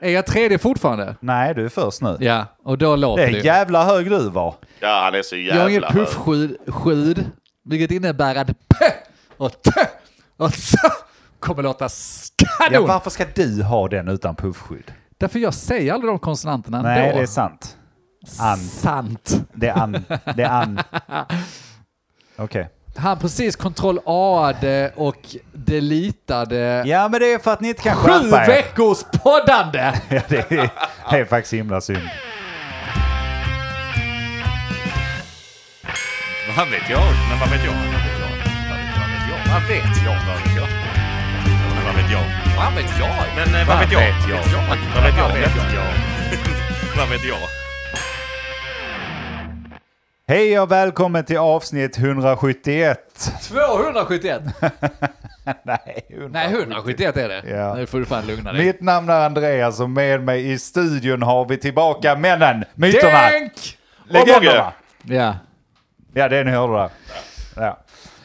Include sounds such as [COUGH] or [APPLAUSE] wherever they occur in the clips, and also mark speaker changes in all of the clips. Speaker 1: Är jag tredje fortfarande?
Speaker 2: Nej, du är först nu.
Speaker 1: Ja, och då
Speaker 2: Det
Speaker 1: låter
Speaker 2: är
Speaker 1: det.
Speaker 2: en
Speaker 1: ju.
Speaker 2: jävla hög du var.
Speaker 3: Ja, han är så
Speaker 1: Jag har inget
Speaker 3: jävla hög.
Speaker 1: puffskydd, skydd, vilket innebär att p och t och s kommer låta s-
Speaker 2: Ja,
Speaker 1: kanon.
Speaker 2: varför ska du ha den utan puffskydd?
Speaker 1: Därför jag säger aldrig de konsonanterna
Speaker 2: Nej,
Speaker 1: ändå.
Speaker 2: det är sant. sant.
Speaker 1: Sant.
Speaker 2: Det är an. Det är
Speaker 1: [LAUGHS]
Speaker 2: an. Okej.
Speaker 1: Han precis kontroll A-ade och delitade
Speaker 2: Ja, men det är för att ni inte kan
Speaker 1: sju
Speaker 2: skärpa er.
Speaker 1: veckors poddande.
Speaker 2: Ja, det, är, det är faktiskt himla synd.
Speaker 3: Vad vet jag? Men vad vet jag? Vad vet jag? Vad vet jag? Vad vet jag? Men Vad vet jag? Vad vet jag? Men eh, vad vet jag? Vad vet jag? Vad vet jag? Vad vet jag? [LAUGHS]
Speaker 2: Hej och välkommen till avsnitt 171.
Speaker 1: 271.
Speaker 2: Nej, 100.
Speaker 1: Nej, 171 är det.
Speaker 2: Ja.
Speaker 1: Nu får du fan lugna dig.
Speaker 2: Mitt namn är Andreas och med mig i studion har vi tillbaka männen, myterna,
Speaker 1: Tänk!
Speaker 2: legenderna.
Speaker 1: Ja,
Speaker 2: Ja, det ni hörde där. Ja.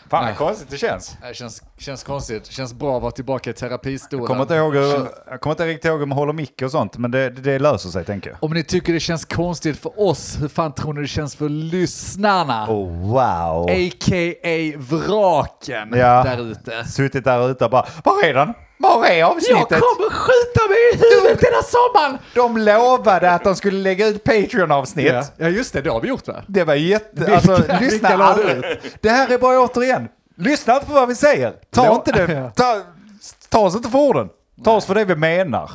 Speaker 2: Fan
Speaker 1: Nej.
Speaker 2: vad konstigt det känns.
Speaker 1: det känns, känns konstigt. Känns bra att vara tillbaka i terapistolen.
Speaker 2: Kommer inte ihåg hur, jag kommer inte riktigt ihåg hur man håller mick och sånt, men det, det löser sig tänker jag.
Speaker 1: Om ni tycker det känns konstigt för oss, hur fan tror ni det känns för lyssnarna?
Speaker 2: Oh, wow.
Speaker 1: A.k.a. vraken
Speaker 2: Ja.
Speaker 1: där ute.
Speaker 2: Suttit där ute och bara, var är den? Var är
Speaker 1: Jag
Speaker 2: avsnittet?
Speaker 1: kommer skjuta mig i huvudet hela sommaren!
Speaker 2: De lovade att de skulle lägga ut Patreon-avsnitt.
Speaker 1: Ja. ja, just det. Det har vi gjort va?
Speaker 2: Det var jätte... Alltså,
Speaker 1: Vilka-
Speaker 2: lyssna
Speaker 1: vilka la du
Speaker 2: aldrig. Det här är bara återigen, lyssna inte på vad vi säger. Ta
Speaker 1: Ja.
Speaker 2: inte [LAUGHS] det, ta, ta oss inte för orden. Ta oss för det vi menar.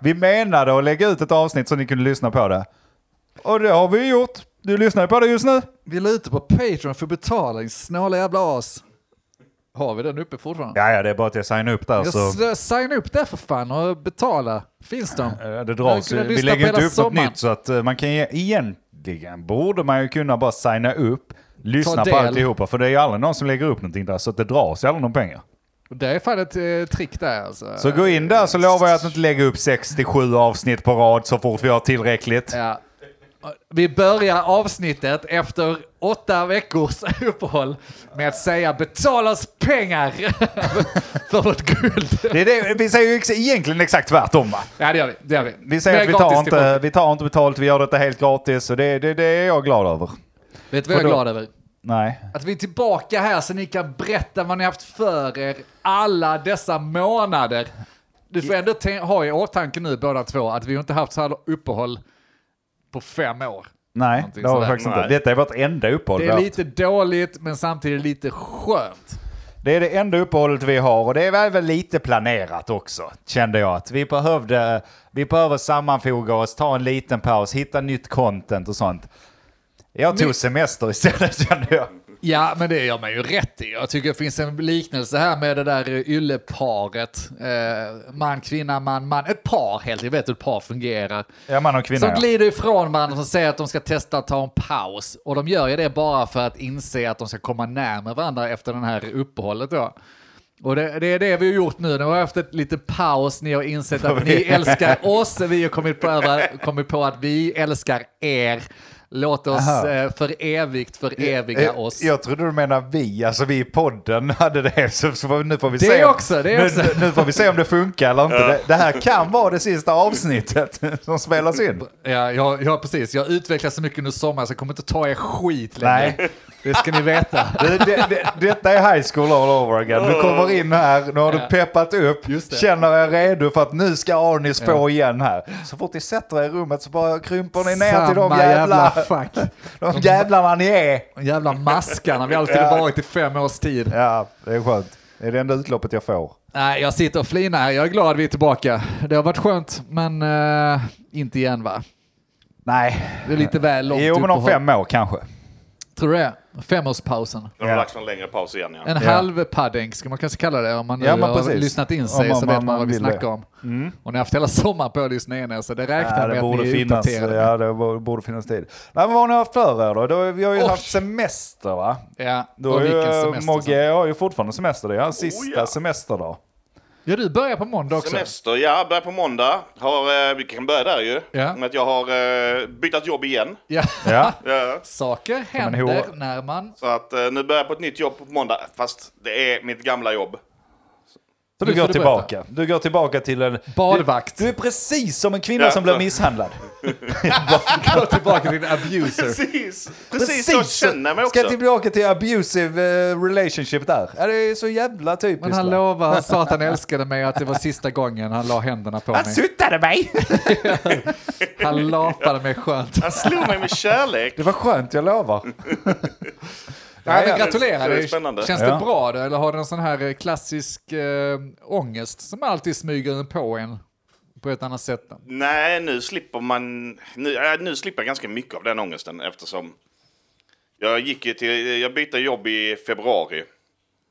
Speaker 2: Vi menade att lägga ut ett avsnitt så ni kunde lyssna på det. Och det har vi gjort. Du lyssnar på det just nu.
Speaker 1: Vi la ut det på Patreon för betalning, snåla jävla as. Har vi den uppe fortfarande?
Speaker 2: Ja, alltså. ja, det är bara att jag signar upp där
Speaker 1: Jag
Speaker 2: så... eh,
Speaker 1: s- signa upp där för fan och betala. Finns de?
Speaker 2: Eh, Det
Speaker 1: Man
Speaker 2: dras
Speaker 1: kunde
Speaker 2: ju. Vi
Speaker 1: lyssna på
Speaker 2: lägger inte
Speaker 1: hela
Speaker 2: upp något
Speaker 1: sommaren.
Speaker 2: nytt så att eh, man kan ge, egentligen borde man ju kunna bara signa upp, lyssna på
Speaker 1: del.
Speaker 2: alltihopa. För det är ju aldrig någon som lägger upp någonting där så att det dras ju aldrig någon pengar.
Speaker 1: Det är fan ett eh, trick där alltså.
Speaker 2: Så gå in där så lovar jag att inte lägga upp 67 avsnitt på rad så fort vi har tillräckligt.
Speaker 1: Ja. Vi börjar avsnittet efter åtta veckors [LAUGHS] uppehåll med att säga betalas pengar [LAUGHS] för vårt guld.
Speaker 2: Det är det, vi säger ju ex- egentligen exakt tvärtom va?
Speaker 1: Ja, det gör vi. Det gör vi.
Speaker 2: Vi säger
Speaker 1: Mer
Speaker 2: att vi
Speaker 1: gratis
Speaker 2: tar,
Speaker 1: till folk.
Speaker 2: inte, vi tar inte betalt, vi gör detta helt gratis och det, det, det är jag glad över.
Speaker 1: Vet du vad jag är
Speaker 2: Vadå?
Speaker 1: glad över?
Speaker 2: Nej.
Speaker 1: Att vi är tillbaka här så ni kan berätta vad ni haft för er alla dessa månader. Du får ändå tän- ha i åtanke nu båda två att vi har inte haft så här uppehåll på fem år.
Speaker 2: Nej,
Speaker 1: Någonting
Speaker 2: det har vi
Speaker 1: sådär.
Speaker 2: faktiskt inte.
Speaker 3: Nej.
Speaker 2: Detta är vårt enda uppehåll.
Speaker 1: Det
Speaker 2: vi har
Speaker 1: är
Speaker 2: haft.
Speaker 1: lite dåligt men samtidigt lite skönt.
Speaker 2: Det är det enda uppehållet vi har och det var väl lite planerat också, kände jag. Att vi behövde, vi behöver sammanfoga oss, ta en liten paus, hitta nytt content och sånt. Jag tog
Speaker 1: Ni-
Speaker 2: semester istället [LAUGHS] kände jag.
Speaker 1: Ja, men det gör man ju rätt i. Jag tycker det finns en liknelse här med det där ylleparet. Eh, man, kvinna, man, man. Ett par helt enkelt. Vet hur ett par fungerar.
Speaker 2: Ja, man och
Speaker 1: Som
Speaker 2: kvinna ja.
Speaker 1: glider ifrån varandra som säger att de ska testa att ta en paus. Och de gör ju det bara för att inse att de ska komma närmare varandra efter det här uppehållet då. Och det, det är det vi har gjort nu. Nu har jag haft ett liten paus. Ni har insett att
Speaker 2: [LAUGHS]
Speaker 1: ni älskar oss. Vi har kommit på, över, kommit på att vi älskar er. Låt oss
Speaker 2: Aha.
Speaker 1: eh, för evigt föreviga
Speaker 2: Eh,
Speaker 1: oss.
Speaker 2: Jag trodde du menade vi, alltså vi i podden hade det. [LAUGHS] Så, så får- nu får vi
Speaker 1: Det
Speaker 2: se. om-
Speaker 1: också, det
Speaker 2: nu,
Speaker 1: också.
Speaker 2: nu- nu får vi se om det funkar eller inte. Det, det här kan vara det sista avsnittet [LAUGHS] som spelas in.
Speaker 1: Ja, jag, jag, precis. Jag utvecklas så mycket under sommaren så jag kommer inte ta er skit längre.
Speaker 2: Nej.
Speaker 1: Det ska ni veta.
Speaker 2: [LAUGHS] Det, det, det, detta är high school all over again. Du kommer in här, nu har du peppat upp,
Speaker 1: Just det.
Speaker 2: känner er redo för att nu ska Arnis på igen här. Så fort ni sätter er i rummet så bara krymper ni ner till de
Speaker 1: Samma
Speaker 2: jävla, [LAUGHS]
Speaker 1: fuck.
Speaker 2: de jävlarna ni är.
Speaker 1: De jävla maskarna vi alltid har varit i fem års tid.
Speaker 2: Ja, det är skönt. Det är det enda utloppet jag får.
Speaker 1: Nej, jag sitter och flinar här. Jag är glad vi är tillbaka. Det har varit skönt, men eh, inte igen va?
Speaker 2: Nej.
Speaker 1: Det är lite väl långt
Speaker 2: Jo, men om
Speaker 1: uppehåll.
Speaker 2: fem år kanske.
Speaker 1: Tror du det? Femårspausen.
Speaker 3: Nu har
Speaker 2: Ja.
Speaker 3: det lagts en längre paus igen ja.
Speaker 1: En
Speaker 2: Ja.
Speaker 1: halv padding ska man kanske kalla det om man nu
Speaker 2: Ja, men
Speaker 1: har
Speaker 2: precis.
Speaker 1: lyssnat in
Speaker 2: Om
Speaker 1: sig
Speaker 2: man-
Speaker 1: så vet man,
Speaker 2: man- man
Speaker 1: vad vi
Speaker 2: vill
Speaker 1: snackar
Speaker 2: det. Mm.
Speaker 1: om. Och ni har haft hela sommaren på att lyssna in er så det räknar
Speaker 2: Ja,
Speaker 1: med
Speaker 2: det
Speaker 1: att
Speaker 2: borde
Speaker 1: ni är
Speaker 2: finnas,
Speaker 1: uppdaterade.
Speaker 2: ja, det borde- borde finnas tid. Nej, men vad har ni haft för er då? då? Vi har ju
Speaker 1: Oj.
Speaker 2: haft semester va?
Speaker 1: Ja,
Speaker 2: Då
Speaker 1: och
Speaker 2: är
Speaker 1: vilken
Speaker 2: ju, eh,
Speaker 1: semester. som-
Speaker 2: Mogge har ju fortfarande semester, det är hans sista
Speaker 3: ja.
Speaker 2: semesterdag.
Speaker 1: Ja, du börjar på måndag också.
Speaker 3: Semester, ja, börjar på måndag. Har, eh, vi kan börja där ju.
Speaker 1: Ja.
Speaker 3: Med att jag har eh, bytt ett jobb igen.
Speaker 1: Ja.
Speaker 2: Ja.
Speaker 3: Ja.
Speaker 1: Saker
Speaker 2: men
Speaker 1: händer
Speaker 2: hur-
Speaker 1: när man...
Speaker 3: Så att eh, nu börjar jag på ett nytt jobb på måndag. Fast det är mitt gamla jobb.
Speaker 2: [LAUGHS] Så
Speaker 1: Nu
Speaker 2: du går
Speaker 1: får du
Speaker 2: tillbaka. Du går tillbaka till en...
Speaker 1: Badvakt.
Speaker 2: Du, du är precis som en kvinna
Speaker 3: Ja.
Speaker 2: som blir misshandlad.
Speaker 1: Gå tillbaka till din [LAUGHS] abuser.
Speaker 3: Precis, precis så känner jag mig
Speaker 2: Ska
Speaker 3: också.
Speaker 2: tillbaka till abusive eh, relationship där. Ja, det är så jävla typiskt.
Speaker 1: Men han
Speaker 2: va?
Speaker 1: lovade, han sa att han älskade mig och att det var sista gången han la händerna på mig.
Speaker 2: suttade [LAUGHS] mig!
Speaker 1: Han lapade mig skönt.
Speaker 3: Han slog mig med kärlek.
Speaker 2: Det var skönt, jag lovar.
Speaker 1: Ja, men
Speaker 2: ja.
Speaker 1: gratulerar.
Speaker 3: Det är
Speaker 1: Det-
Speaker 3: spännande.
Speaker 1: Känns det
Speaker 2: Ja.
Speaker 1: bra då? Eller har du en sån här eh, klassisk eh, ångest som alltid smyger på en på ett annat sätt? då?
Speaker 3: Nej, nu slipper man... Nu, äh, nu slipper jag ganska mycket av den ångesten eftersom... Jag gick ju till... Jag bytte jobb i februari.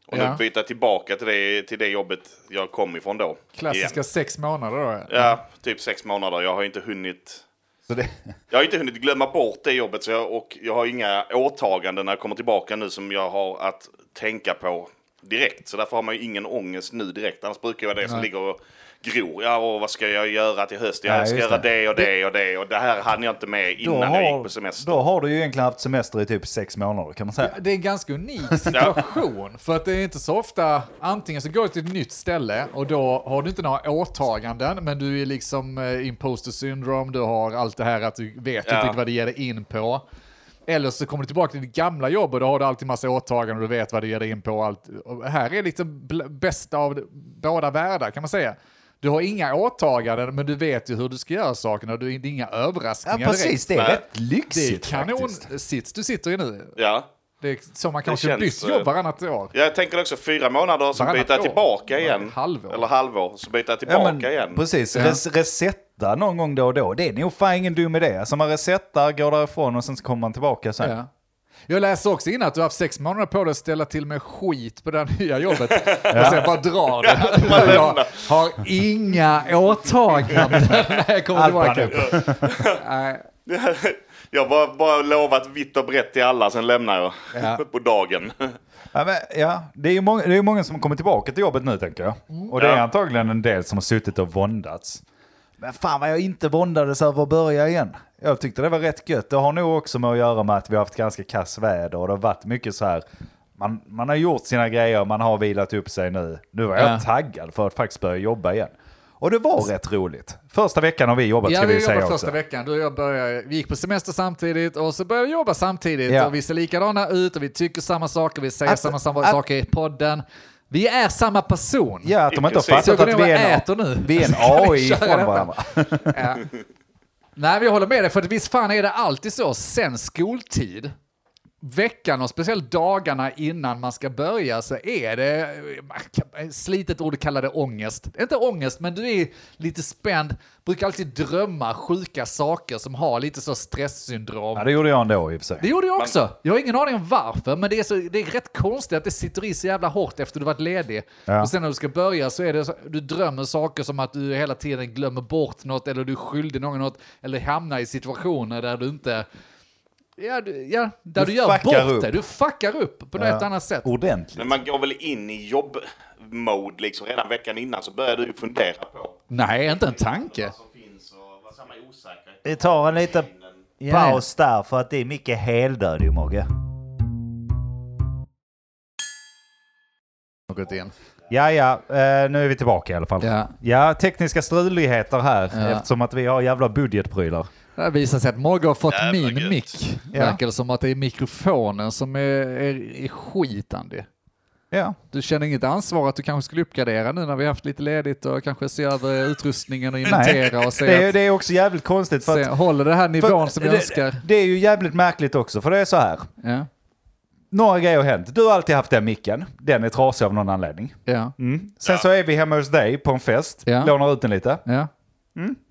Speaker 3: Och
Speaker 1: Ja.
Speaker 3: nu byter jag tillbaka till det, till det jobbet jag kom ifrån då.
Speaker 1: Klassiska
Speaker 3: Igen.
Speaker 1: sex månader då?
Speaker 3: Ja, typ sex månader. Jag har inte hunnit...
Speaker 2: Så det,
Speaker 3: Jag har inte hunnit glömma bort det jobbet så jag, och jag har inga åtaganden när jag kommer tillbaka nu som jag har att tänka på direkt. Så därför har man ju ingen ångest nu direkt. Annars brukar jag vara det som ligger och gror. Ja, och vad ska jag göra till hösten?
Speaker 2: Ja,
Speaker 3: Jag ska
Speaker 2: just
Speaker 3: göra
Speaker 2: det.
Speaker 3: det och det och det och det här hann jag inte med
Speaker 2: då,
Speaker 3: innan jag gick på
Speaker 2: har,
Speaker 3: semester.
Speaker 2: då har du ju egentligen haft semester i typ sex månader kan man säga.
Speaker 1: Det är en ganska
Speaker 2: [LAUGHS]
Speaker 1: unik situation. För att det är inte så ofta, antingen så går du till ett nytt ställe och då har du inte några åtaganden, men du är liksom eh, imposter syndrome, du har allt det här att du vet inte
Speaker 3: Ja.
Speaker 1: riktigt vad det ger dig in på. Eller så kommer du tillbaka till ditt gamla jobb och då har du alltid massa åtaganden och du vet vad det ger dig in på. Och allt. Och här är lite bl- bästa av båda världar kan man säga. Du har inga åtaganden, men du vet ju hur du ska göra sakerna. och Du, det är inga
Speaker 2: Ja,
Speaker 1: överraskningar
Speaker 2: precis.
Speaker 1: direkt.
Speaker 2: Det är
Speaker 3: Nej.
Speaker 2: rätt
Speaker 1: Det är
Speaker 2: lyxigt
Speaker 1: kanon
Speaker 2: faktiskt.
Speaker 1: sits du sitter i nu.
Speaker 3: Ja.
Speaker 1: Det är så man kanske
Speaker 3: känns,
Speaker 1: bytt
Speaker 3: eh,
Speaker 1: jobb varannat år.
Speaker 3: Jag tänker också fyra månader så
Speaker 1: Varannat
Speaker 3: byter jag
Speaker 1: år.
Speaker 3: tillbaka
Speaker 1: Eller
Speaker 3: igen.
Speaker 1: halvår.
Speaker 3: Eller halvår. Så byter jag
Speaker 2: Ja,
Speaker 3: tillbaka
Speaker 2: men,
Speaker 3: igen.
Speaker 2: precis,
Speaker 1: Ja.
Speaker 2: res resetta någon gång då och då. Det är nog fan ingen dum idé. Alltså man resetar, går därifrån och sen så kommer man tillbaka sen.
Speaker 1: Ja. Jag läser också in att du har haft sex månader på dig att ställa till med skit på det här nya jobbet.
Speaker 2: [LAUGHS]
Speaker 1: Och sen bara drar du. jag har inga
Speaker 2: [LAUGHS]
Speaker 1: åtaganden när jag kommer tillbaka. Nej,
Speaker 3: [LAUGHS] jag har bara, bara lovat vitt och brett till alla, sen lämnar jag
Speaker 1: Ja.
Speaker 3: [LAUGHS]
Speaker 1: [LAUGHS]
Speaker 3: på dagen.
Speaker 2: Ja, men, ja, det är ju många, det är ju många som kommer tillbaka till jobbet nu tänker jag. Och det är
Speaker 3: Ja.
Speaker 2: antagligen en del som har suttit och våndats. Men fan vad jag inte våndades över att börja igen. Jag tyckte det var rätt gött. Det har nog också med att göra med att vi har haft ganska kass väder och det har varit mycket så här. Man, man har gjort sina grejer, man har vilat upp sig nu. Nu var jag
Speaker 1: Ja.
Speaker 2: taggad för att faktiskt börja jobba igen. Och det var rätt roligt. Första veckan har vi jobbat
Speaker 1: Ja,
Speaker 2: ska vi, ju
Speaker 1: vi
Speaker 2: säga
Speaker 1: jobbade
Speaker 2: också.
Speaker 1: första veckan. Du och jag började, vi gick på semester samtidigt och så började vi jobba samtidigt.
Speaker 2: Ja.
Speaker 1: Och vi ser likadana ut och vi tycker samma saker, vi säger
Speaker 2: Att-
Speaker 1: samma, samma
Speaker 2: att-
Speaker 1: saker i podden. Vi är samma person.
Speaker 2: Ja, att de inte har
Speaker 3: Inklusive-
Speaker 2: fattat
Speaker 1: Så går
Speaker 2: att
Speaker 1: ni
Speaker 2: vi
Speaker 1: och
Speaker 2: är,
Speaker 1: äter nu.
Speaker 2: en, vi är en
Speaker 1: Ska [LAUGHS]
Speaker 2: AI
Speaker 1: vi köra
Speaker 2: ifrån
Speaker 1: detta?
Speaker 2: varandra.
Speaker 1: Ja. Nej, vi håller med dig, för att visst fan är det alltid så sen skoltid. Veckan och speciellt dagarna innan man ska börja så är det, man kan- slitet ord att kalla det ångest. Inte ångest, men du är lite spänd, brukar alltid drömma sjuka saker som har lite så stresssyndrom.
Speaker 2: Ja, det gjorde jag ändå i och för sig.
Speaker 1: Det gjorde jag också. Jag har ingen aning om varför, men det är, så, det är rätt konstigt att det sitter i så jävla hårt efter du varit ledig.
Speaker 2: Ja.
Speaker 1: Och sen när du ska börja så är det så, du drömmer saker som att du hela tiden glömmer bort något eller du är skyldig någon något eller hamnar i situationer där du inte... Ja, du, ja där du,
Speaker 2: Du
Speaker 1: gör
Speaker 2: fuckar
Speaker 1: bort
Speaker 2: upp. Oh.
Speaker 1: det. Du fuckar upp på något annat sätt.
Speaker 2: Ordentligt.
Speaker 3: Men man går väl in i jobb-mode liksom. Redan veckan innan så börjar du ju fundera på
Speaker 1: Nej, inte en tanke.
Speaker 3: vad som finns och vad som är osäkert.
Speaker 2: Vi tar en liten
Speaker 1: Ja.
Speaker 2: paus där för att det är mycket heldöd ju Mogge.
Speaker 1: Något igen.
Speaker 2: Ja, ja, eh, nu är vi tillbaka i alla fall.
Speaker 1: Ja.
Speaker 2: Ja, tekniska struligheter här
Speaker 1: Ja.
Speaker 2: eftersom att vi har jävla budgetprylar.
Speaker 1: Det visar sig att Mogge har fått
Speaker 3: Jävla
Speaker 1: min
Speaker 3: gött.
Speaker 1: mick.
Speaker 2: Ja.
Speaker 1: Verkar det som att det är mikrofonen som är, är, är skitande.
Speaker 2: Ja.
Speaker 1: Du känner inget ansvar att du kanske skulle uppgradera nu när vi haft lite ledigt och kanske se över utrustningen och inventera och
Speaker 2: Det,
Speaker 1: se
Speaker 2: är,
Speaker 1: att
Speaker 2: det är också jävligt konstigt för
Speaker 1: se,
Speaker 2: att...
Speaker 1: håller det här
Speaker 2: För,
Speaker 1: nivån som vi
Speaker 2: det,
Speaker 1: önskar?
Speaker 2: det är ju jävligt märkligt också för det är så här.
Speaker 1: Ja,
Speaker 2: Några grejer har hänt. Du har alltid haft den micken. Den är trasig av någon anledning.
Speaker 1: ja,
Speaker 2: Mm. Sen så är vi hemma hos dig på en fest.
Speaker 1: Ja. Mm.
Speaker 2: Lånar ut den lite.
Speaker 1: ja.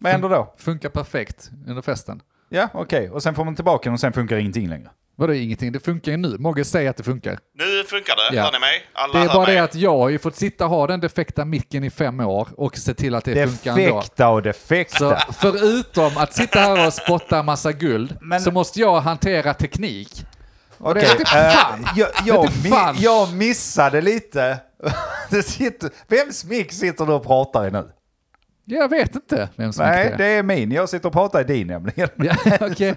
Speaker 2: Vad händer då?
Speaker 1: Funkar perfekt under festen.
Speaker 2: Ja, okej. Och sen får man tillbaka den och sen funkar ingenting längre.
Speaker 1: Vadå ingenting? Det funkar ju nu. Mogge säger att det funkar.
Speaker 3: Nu funkar det,
Speaker 1: Ja.
Speaker 3: hör ni mig? Alla
Speaker 1: Det är
Speaker 3: hör
Speaker 1: bara
Speaker 3: mig.
Speaker 1: det att jag har ju fått sitta och ha den defekta micken i fem år och se till att det funkar ändå.
Speaker 2: Defekta och defekta.
Speaker 1: Så förutom att sitta här och spotta massa guld
Speaker 2: Men-
Speaker 1: så måste jag hantera teknik.
Speaker 2: Okej,
Speaker 1: Det är inte
Speaker 2: eh,
Speaker 1: fan.
Speaker 2: jag,
Speaker 1: Det är
Speaker 2: jag,
Speaker 1: inte
Speaker 2: mi-
Speaker 1: fan.
Speaker 2: jag missade lite. [LAUGHS] Det sitter, vems mick sitter du och pratar i nu?
Speaker 1: Jag vet inte vem som
Speaker 2: Nej,
Speaker 1: är.
Speaker 2: det är min. Jag sitter och pratar i din nämligen.
Speaker 1: Ja, [LAUGHS] okej.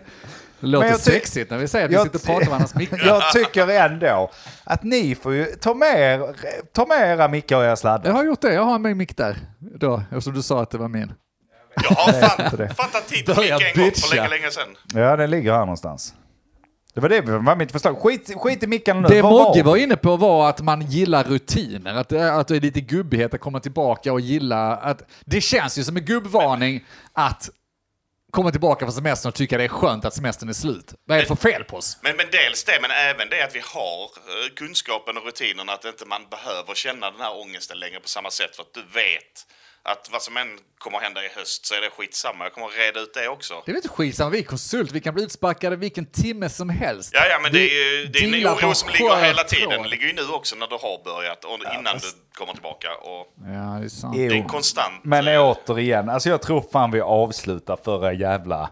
Speaker 1: Det låter
Speaker 2: jag ty-
Speaker 1: sexigt när vi säger att vi
Speaker 2: jag
Speaker 1: sitter och
Speaker 2: ty-
Speaker 1: pratar med varandras [LAUGHS] mickar.
Speaker 2: [LAUGHS] Jag tycker ändå att ni får ju ta med, er, ta med era mickar och era sladdar.
Speaker 1: Jag har gjort det, jag har en mick där. Då, eftersom du sa att det var min.
Speaker 3: Jag
Speaker 1: [LAUGHS]
Speaker 3: har
Speaker 2: inte det.
Speaker 3: fan, fattat titeln
Speaker 1: Börja
Speaker 3: lika en gång
Speaker 1: bitcha.
Speaker 3: för länge, länge sedan.
Speaker 2: Ja, den ligger här någonstans. Det var det var mitt förslag. Skit, skit i mickarna nu.
Speaker 1: Det
Speaker 2: Vad var
Speaker 1: Mogge
Speaker 2: vi?
Speaker 1: var inne på var att man gillar rutiner, att det, är- att det är lite gubbighet att komma tillbaka och gilla att... Det känns ju som en gubbvarning att komma tillbaka från semestern och tycka det är skönt att semestern är slut. Vad är det för fel på oss?
Speaker 3: Men, men dels det, men även det att vi har eh, kunskapen och rutinerna att inte man behöver känna den här ångesten längre på samma sätt för att du vet att vad som än kommer hända i höst så är det skitsamma. Jag kommer att reda ut det också.
Speaker 1: Det är väl inte skitsamma, vi är konsult, vi kan bli utsparkade vilken timme som helst.
Speaker 3: Ja, ja, men det
Speaker 1: Vi
Speaker 3: är ju det är en
Speaker 1: dealar på
Speaker 3: oro som ligger hela
Speaker 1: skör
Speaker 3: tiden.
Speaker 1: tråd.
Speaker 3: Det ligger ju nu också när du har börjat och innan du kommer tillbaka. Och
Speaker 1: Ja, det är sant.
Speaker 3: det är en
Speaker 2: Jo.
Speaker 3: konstant...
Speaker 2: Men
Speaker 3: eh,
Speaker 2: återigen, alltså jag tror fan vi avslutar förra jävla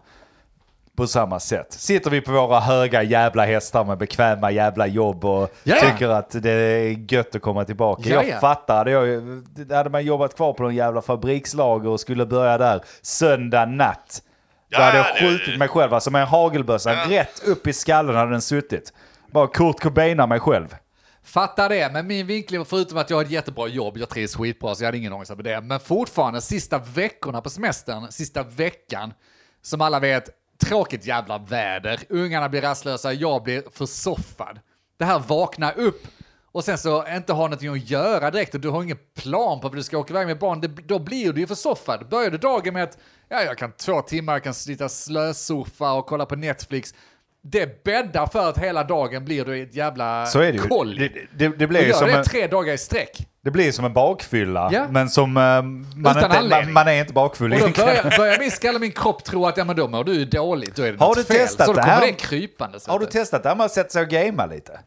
Speaker 2: på samma sätt. Sitter vi på våra höga jävla hästar med bekväma jävla jobb och
Speaker 1: Ja, ja.
Speaker 2: tycker att det är gött att komma tillbaka.
Speaker 1: Ja, ja.
Speaker 2: Jag fattar, hade, jag, ju- hade man jobbat kvar på någon jävla fabrikslager och skulle börja där söndag natt. Då
Speaker 3: Ja,
Speaker 2: hade jag
Speaker 3: det-
Speaker 2: skjutit mig själv, alltså med en hagelbössa, rätt upp i skallen hade den suttit. Bara Kurt Cobainar mig själv.
Speaker 1: Fattar det, men min vinkling var förutom att jag har ett jättebra jobb, jag trivs skitbra så jag hade ingen ångest över det. Men fortfarande, sista veckorna på semestern, sista veckan, som alla vet, tråkigt jävla väder, ungarna blir rastlösa, jag blir försoffad. Det här vakna upp och sen så inte ha någonting att göra direkt och du har ingen plan på vad du ska åka iväg med barn, det, då blir du ju försoffad. Börjar du dagen med att ja, jag kan två timmar, jag kan sitta slösurfa och kolla på Netflix. Det bäddar för att hela dagen blir du ett jävla
Speaker 2: Så är det ju.
Speaker 1: koll.
Speaker 2: Det, det, det
Speaker 1: Och
Speaker 2: blir ju
Speaker 1: gör
Speaker 2: som
Speaker 1: det
Speaker 2: en-
Speaker 1: tre dagar i sträck.
Speaker 2: Det blir som en bakfylla,
Speaker 1: Ja.
Speaker 2: men som eh, man,
Speaker 1: Utan
Speaker 2: inte, man,
Speaker 1: anledning.
Speaker 2: man är inte bakfull
Speaker 1: Och då
Speaker 2: egentligen.
Speaker 1: börjar, börjar min skalle, min kropp tro att ja, men då mår du ju dåligt, då är det
Speaker 2: Har
Speaker 1: något
Speaker 2: du
Speaker 1: fel.
Speaker 2: testat
Speaker 1: så då
Speaker 2: det
Speaker 1: kommer
Speaker 2: här?
Speaker 1: det krypande. Så
Speaker 2: [LAUGHS] Har du testat det här med att sätta sig och gamea lite?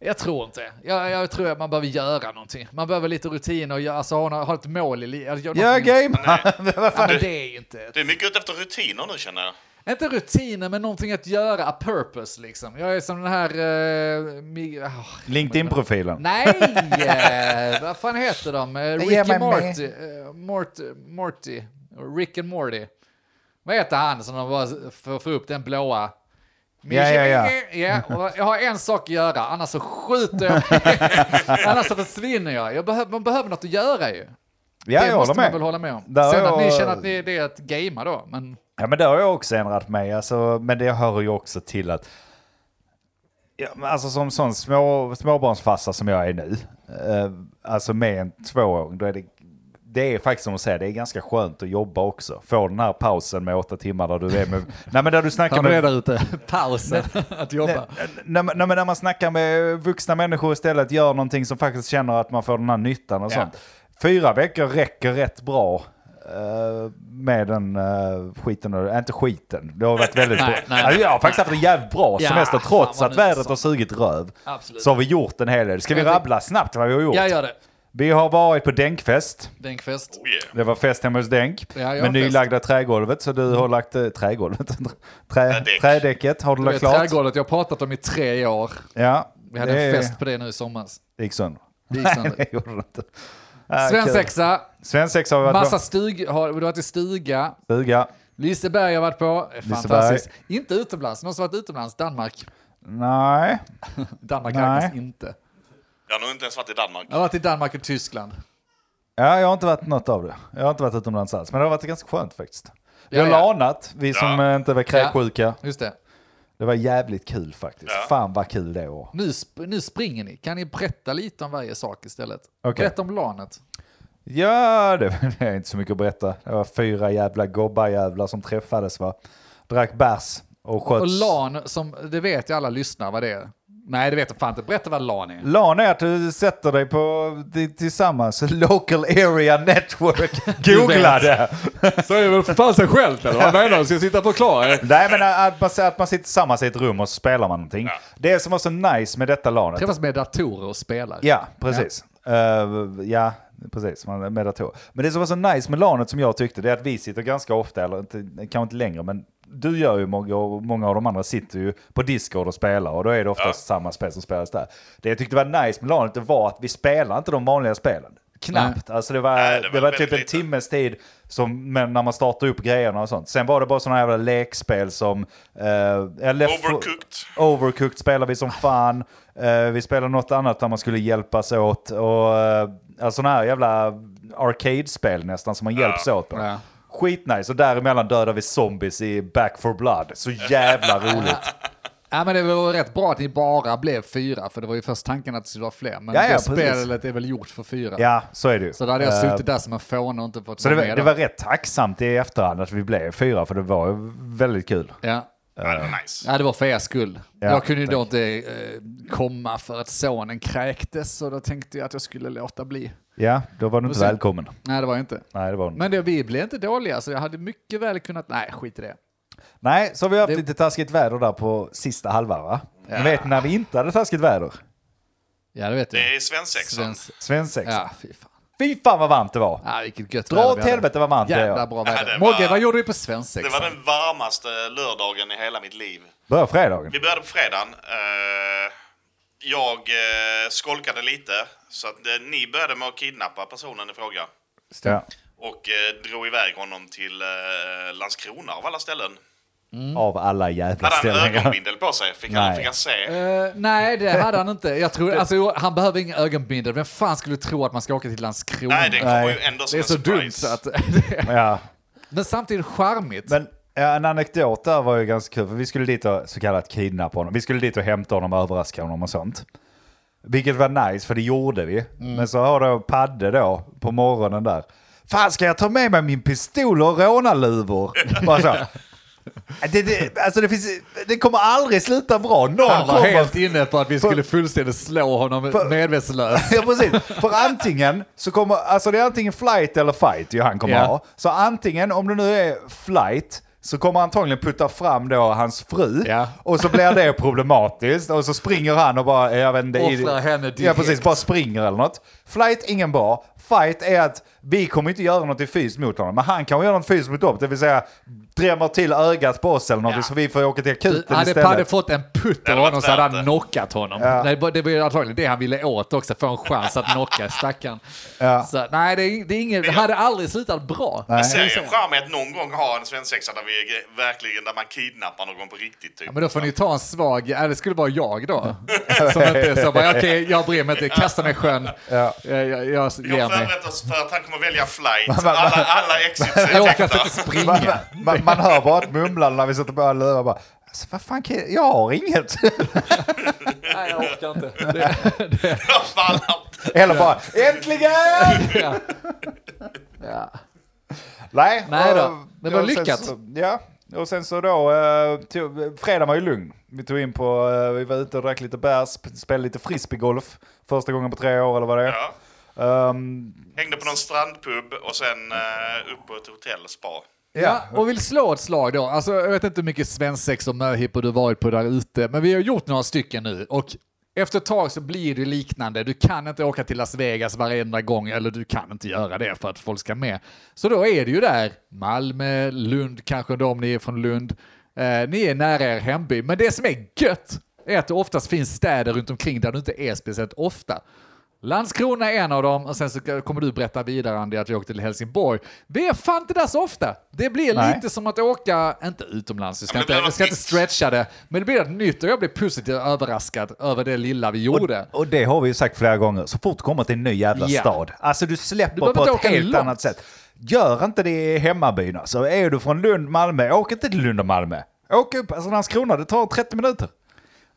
Speaker 1: jag tror inte. Jag, jag tror att man behöver göra någonting. Man behöver lite rutin och göra, alltså, ha, nå- ha ett mål i livet. Ja,
Speaker 2: Ja, gamea! Vad
Speaker 1: ja,
Speaker 2: fan?
Speaker 1: men det är ju inte...
Speaker 3: Du är mycket ute efter rutiner nu känner jag.
Speaker 1: Inte rutiner, men någonting att göra, a purpose liksom. Jag är som den här... eh, mi- ah,
Speaker 2: [LAUGHS] LinkedIn-profilen.
Speaker 1: Nej! eh, vad fan heter de? Eh,
Speaker 2: ger
Speaker 1: Ricky
Speaker 2: mig
Speaker 1: Morty. eh, Mort, Morty. Rick and Morty. Vad heter han som de bara får få upp den blåa?
Speaker 2: Ja, ja, ja.
Speaker 1: Ja, och jag har en sak att göra, annars så skjuter jag.
Speaker 2: [LAUGHS]
Speaker 1: annars så försvinner jag. jag behöver, man behöver något att göra ju.
Speaker 2: Ja,
Speaker 1: det
Speaker 2: jag håller
Speaker 1: måste man väl
Speaker 2: med.
Speaker 1: hålla med om.
Speaker 2: Där
Speaker 1: Sen att ni
Speaker 2: jag-
Speaker 1: känner att ni, det är att gamea då. Men
Speaker 2: Ja, men det har jag också ändrat mig. Alltså, men det hör ju också till att... Ja, men alltså som sån små, småbarnsfarsa som jag är nu, eh, alltså med en tvååring, då är det... Det är faktiskt som att säga, det är ganska skönt att jobba också. Få den här pausen med åtta timmar där du
Speaker 1: [LAUGHS]
Speaker 2: är med... Nej men där du snackar
Speaker 1: kan du
Speaker 2: med
Speaker 1: är där ute, [LAUGHS] pausen att jobba.
Speaker 2: När, man- när, man- när man snackar med vuxna människor istället, gör någonting som faktiskt känner att man får den här nyttan och
Speaker 1: Ja.
Speaker 2: sånt. Fyra veckor räcker rätt bra eh, med den eh, skiten. och- Inte skiten, det har varit väldigt bra.
Speaker 1: Nej, nej,
Speaker 2: alltså, jag har faktiskt haft en jävligt bra
Speaker 1: Ja,
Speaker 2: semester
Speaker 1: fan,
Speaker 2: trots
Speaker 1: vad
Speaker 2: att
Speaker 1: nu
Speaker 2: vädret
Speaker 1: så.
Speaker 2: har sugit röv.
Speaker 1: Absolut.
Speaker 2: Så har vi gjort en hel del. Ska vi
Speaker 1: Jag tyck-
Speaker 2: rabbla snabbt vad vi har gjort?
Speaker 1: Jag gör det.
Speaker 2: Vi har varit på Denkfest.
Speaker 1: Bänkfest.
Speaker 3: Oh, yeah.
Speaker 2: Det var fest hemma hos Denk.
Speaker 1: Ja, jag har
Speaker 2: med
Speaker 1: fest.
Speaker 2: nylagda trägolvet. Så du har lagt eh, trägolvet. [LAUGHS] Trä,
Speaker 3: Trädäck.
Speaker 2: trädäcket har du
Speaker 1: Det är
Speaker 2: lagt klart.
Speaker 1: trädgården jag har pratat om i tre år.
Speaker 2: Ja,
Speaker 1: Vi hade
Speaker 2: det
Speaker 1: en
Speaker 2: är-
Speaker 1: fest på det nu i somras.
Speaker 2: Det gick sönder.
Speaker 1: Det gick sönder.
Speaker 2: det gjorde det inte. Ah, kul.
Speaker 1: Svensexa,
Speaker 2: Svensexa har vi varit
Speaker 1: massa
Speaker 2: på.
Speaker 1: stug, har, du har varit i stuga.
Speaker 2: Stuga.
Speaker 1: Liseberg har varit på, är fantastiskt. Inte utomlands, någon som varit utomlands, Danmark.
Speaker 2: Nej.
Speaker 1: Danmark
Speaker 2: Nej.
Speaker 1: räknas inte.
Speaker 3: Jag har nog inte ens varit i Danmark.
Speaker 1: Jag har varit i Danmark och Tyskland.
Speaker 2: Ja, jag har inte varit något av det. Jag har inte varit utomlands alls. Men det har varit ganska skönt faktiskt. Vi
Speaker 1: Ja,
Speaker 2: har
Speaker 1: ja.
Speaker 2: lanat, vi som
Speaker 3: Ja.
Speaker 2: eh, inte var kräksjuka.
Speaker 1: Just det.
Speaker 2: Det var jävligt kul faktiskt.
Speaker 3: Ja.
Speaker 2: Fan vad kul det var.
Speaker 1: Nu, sp- nu springer ni, kan ni berätta lite om varje sak istället?
Speaker 2: Okej.
Speaker 1: Berätta om lanet.
Speaker 2: Ja, det [LAUGHS] det är inte så mycket att berätta. Det var fyra jävla gobbarjävlar som träffades va. Drack bärs och sköts.
Speaker 1: Och lan, som, det vet ju alla lyssnare vad det är. Nej, det vet jag fan inte. Berätta vad lan är.
Speaker 2: LAN är att du sätter dig på tillsammans, [LAUGHS] Local Area Network.
Speaker 1: [LAUGHS]
Speaker 2: Googla
Speaker 1: vet.
Speaker 2: det!
Speaker 1: Säger väl för fan sig själv eller? Vad menar du? Ska jag sitta och förklara?
Speaker 2: Nej men att man, att man sitter tillsammans i ett rum och så spelar man någonting. Det som var så nice med detta LANet.
Speaker 1: Träffas med datorer och spelar.
Speaker 2: Ja, precis. Eh, ja, precis. Man- Med dator. Men det som var så nice med LANet som jag tyckte, det är att vi sitter ganska ofta, eller inte, kanske inte längre, men du gör ju många, och många av de andra sitter ju på Discord och spelar och då är det oftast samma spel som spelas där. Det jag tyckte var nice med LANet det var att vi spelar inte de vanliga spelen. Knappt. Alltså det var,
Speaker 3: Nej,
Speaker 2: det var,
Speaker 3: det var
Speaker 2: typ
Speaker 3: väldigt
Speaker 2: en
Speaker 3: lite.
Speaker 2: timmes tid som, men när man startade upp grejerna och sånt. Sen var det bara sådana jävla lekspel som... Eh, ja, Left Fo-
Speaker 3: Overcooked.
Speaker 2: Overcooked spelar vi som fan. Eh, vi spelar något annat där man skulle hjälpas åt. Och eh, alltså sådana här jävla arcade-spel nästan som man hjälps åt på.
Speaker 1: Ja.
Speaker 2: Skitnice. Och däremellan dödar vi zombies i Back for Blood.
Speaker 1: [LAUGHS]
Speaker 2: Så jävla roligt.
Speaker 1: Ja, men det var rätt bra att ni bara blev fyra, för det var ju först tanken att det skulle vara fler. Men
Speaker 2: Ja, ja,
Speaker 1: det
Speaker 2: precis.
Speaker 1: spelet är väl gjort för fyra.
Speaker 2: Ja, så är det ju.
Speaker 1: Så då hade jag
Speaker 2: Eh,
Speaker 1: suttit där som en fåne och inte fått
Speaker 2: Så det,
Speaker 1: vara
Speaker 2: var-
Speaker 1: med
Speaker 2: det
Speaker 1: då.
Speaker 2: var rätt tacksamt i efterhand att vi blev fyra, för det var ju väldigt kul.
Speaker 1: Ja.
Speaker 3: Ja, det var nice.
Speaker 1: ja, det var för er skull.
Speaker 2: Ja,
Speaker 1: jag kunde ju då inte eh, komma för att sonen kräktes, så då tänkte jag att jag skulle låta bli.
Speaker 2: Ja, då var du inte
Speaker 1: sen-
Speaker 2: välkommen.
Speaker 1: Nej, det var jag inte.
Speaker 2: Nej, det var du inte.
Speaker 1: Men det, vi blev inte dåliga, så jag hade mycket väl kunnat... Nej, skit i det.
Speaker 2: Nej, så har vi haft
Speaker 1: Det-
Speaker 2: lite taskigt väder där på sista halvan, va? Ni vet när vi inte hade taskigt väder?
Speaker 1: Ja, det vet jag.
Speaker 3: Det är svensexan.
Speaker 1: Svensk-
Speaker 2: Svensexa.
Speaker 1: Ja, fy fan.
Speaker 2: Fy fan vad varmt det var!
Speaker 1: Ja, vilket gött
Speaker 2: Dra
Speaker 1: väder vi
Speaker 2: åt
Speaker 1: hade.
Speaker 2: helvete vad varmt det är.
Speaker 1: Jävla bra väder.
Speaker 3: Ja, det var-
Speaker 1: Mogge, vad gjorde du på
Speaker 3: Det
Speaker 1: svensexa?
Speaker 3: var den varmaste lördagen i hela mitt liv.
Speaker 2: Börja fredagen.
Speaker 3: Vi började på fredagen. Eh, jag eh, skolkade lite, så att eh, ni började med att kidnappa personen i fråga.
Speaker 2: Ja.
Speaker 3: Och eh, drog iväg honom till eh, Landskrona av alla ställen.
Speaker 1: Mm.
Speaker 2: Av alla jävla
Speaker 3: Hade han
Speaker 2: ställningar.
Speaker 3: ögonbindel på sig? Fick han,
Speaker 2: Nej.
Speaker 3: fick han se?
Speaker 1: Eh, nej, det hade han inte. Jag tror, alltså, han behöver inga ögonbindel. Vem fan skulle tro att man ska åka till Landskrona?
Speaker 3: Nej, det kommer ju
Speaker 2: Nej.
Speaker 3: ändå som
Speaker 1: Det är
Speaker 3: en
Speaker 1: så dumt
Speaker 3: surprise.
Speaker 1: så att... [LAUGHS]
Speaker 2: [LAUGHS] Ja.
Speaker 1: Men samtidigt charmigt.
Speaker 2: Men ja, en anekdot där var ju ganska kul, för vi skulle dit och så kallat kidnappa honom. Vi skulle dit och hämta honom och överraska honom och sånt. Vilket var nice, för det gjorde vi.
Speaker 1: Mm.
Speaker 2: Men så har då Padde då, på morgonen där. Fan, ska jag ta med mig min pistol och
Speaker 1: [LAUGHS]
Speaker 2: rånarluvor? Bara så. Det, det, alltså det, finns, det kommer aldrig sluta bra. Någon
Speaker 1: han var
Speaker 2: kommer-
Speaker 1: helt inne på att vi skulle fullständigt slå honom medvetslös.
Speaker 2: [LAUGHS] Ja precis, för antingen så kommer, alltså det är antingen flight eller fight ju han kommer
Speaker 1: Ja.
Speaker 2: ha. Så antingen, om det nu är flight, så kommer antagligen putta fram då hans fru.
Speaker 1: Ja.
Speaker 2: Och så blir det problematiskt. Och så springer han och bara, jag vet inte. i-
Speaker 1: Offrar henne
Speaker 2: Ja
Speaker 1: direkt.
Speaker 2: precis, bara springer eller något. Flight, ingen bra. Fight är att vi kommer inte göra något i fys mot honom, men han kan göra något fys mot dem. Det vill säga, drämmer till ögat på oss eller något
Speaker 1: Ja.
Speaker 2: så vi får åka till akuten
Speaker 1: Hade
Speaker 2: istället.
Speaker 1: Padde fått en putt av
Speaker 3: hade
Speaker 1: honom så hade
Speaker 3: varit
Speaker 1: han
Speaker 3: värt det.
Speaker 1: knockat honom. Nej, Det var ju antagligen det han ville åt också, få en chans att knocka stackaren. Så, nej, det, är- det, är ingen, det hade aldrig slutat bra.
Speaker 2: Nej.
Speaker 3: Jag ser ju en charm i att någon gång ha en svensexa där, vi är- verkligen, där man kidnappar någon på riktigt. Typ.
Speaker 1: Men då får ni ta en svag, ja, det skulle vara jag då. Som inte så bara, okej, jag bryr mig inte, kasta mig i sjön, jag, jag, jag
Speaker 3: Vi har
Speaker 1: ger mig.
Speaker 3: förberett oss för att han kommer
Speaker 1: [LAUGHS]
Speaker 3: välja flight. Alla, alla exits är
Speaker 1: Jag orkar inte
Speaker 3: [LAUGHS] täckta.
Speaker 2: Man,
Speaker 1: springa.
Speaker 2: man, man hör bara ett mumlande när vi sätter på alla lurar bara. Alltså, vad fan, kan jag, jag har inget. [LAUGHS]
Speaker 1: Nej, jag orkar inte. [LAUGHS]
Speaker 3: Fan,
Speaker 2: Eller bara, äntligen!
Speaker 1: Ja.
Speaker 2: Nej,
Speaker 1: Nej då,
Speaker 2: och-
Speaker 1: det var
Speaker 2: och sen
Speaker 1: lyckat.
Speaker 2: Så, ja, och sen så då, eh, tog, fredagen var ju lugn. Vi tog in på, eh, vi var ute och drack lite bärs, sp- spelade lite frisbeegolf. Första gången på tre år eller vad det är.
Speaker 3: Ja.
Speaker 2: Ehm,
Speaker 3: Hängde på någon strandpub och sen eh, upp på ett hotell, spa.
Speaker 1: Ja,
Speaker 2: ja.
Speaker 1: och vill slå ett slag då. Alltså, jag vet inte hur mycket svensex och möhippor du varit på där ute, men vi har gjort några stycken nu. Och efter ett tag så blir det liknande. Du kan inte åka till Las Vegas varenda gång, eller du kan inte göra det för att folk ska med. Så då är det ju där, Malmö, Lund kanske då om ni är från Lund. Eh, ni är nära er hemby, men det som är gött är att det oftast finns städer runt omkring där du inte är speciellt ofta. Landskrona är en av dem och sen så kommer du berätta vidare Andy att jag åkte till Helsingborg. Det är fan inte där så ofta. Det blir
Speaker 2: Nej.
Speaker 1: lite som att åka, inte utomlands, jag ska,
Speaker 3: Men det
Speaker 1: inte,
Speaker 3: blir
Speaker 1: jag
Speaker 3: något
Speaker 1: ska inte
Speaker 3: nytt.
Speaker 1: stretcha det, men det blir något nytt och jag blev positivt överraskad över det lilla vi gjorde.
Speaker 2: Och det har vi ju sagt flera gånger, så fort du kommer till en ny jävla
Speaker 1: Ja.
Speaker 2: stad, alltså du släpper
Speaker 1: Du behöver
Speaker 2: på
Speaker 1: inte
Speaker 2: ett
Speaker 1: åka
Speaker 2: helt
Speaker 1: långt.
Speaker 2: annat sätt. Gör inte det i hemmabyn alltså. Är du från Lund, Malmö, åk inte till Lund och Malmö. Åk upp, alltså Landskrona, det tar 30 minuter.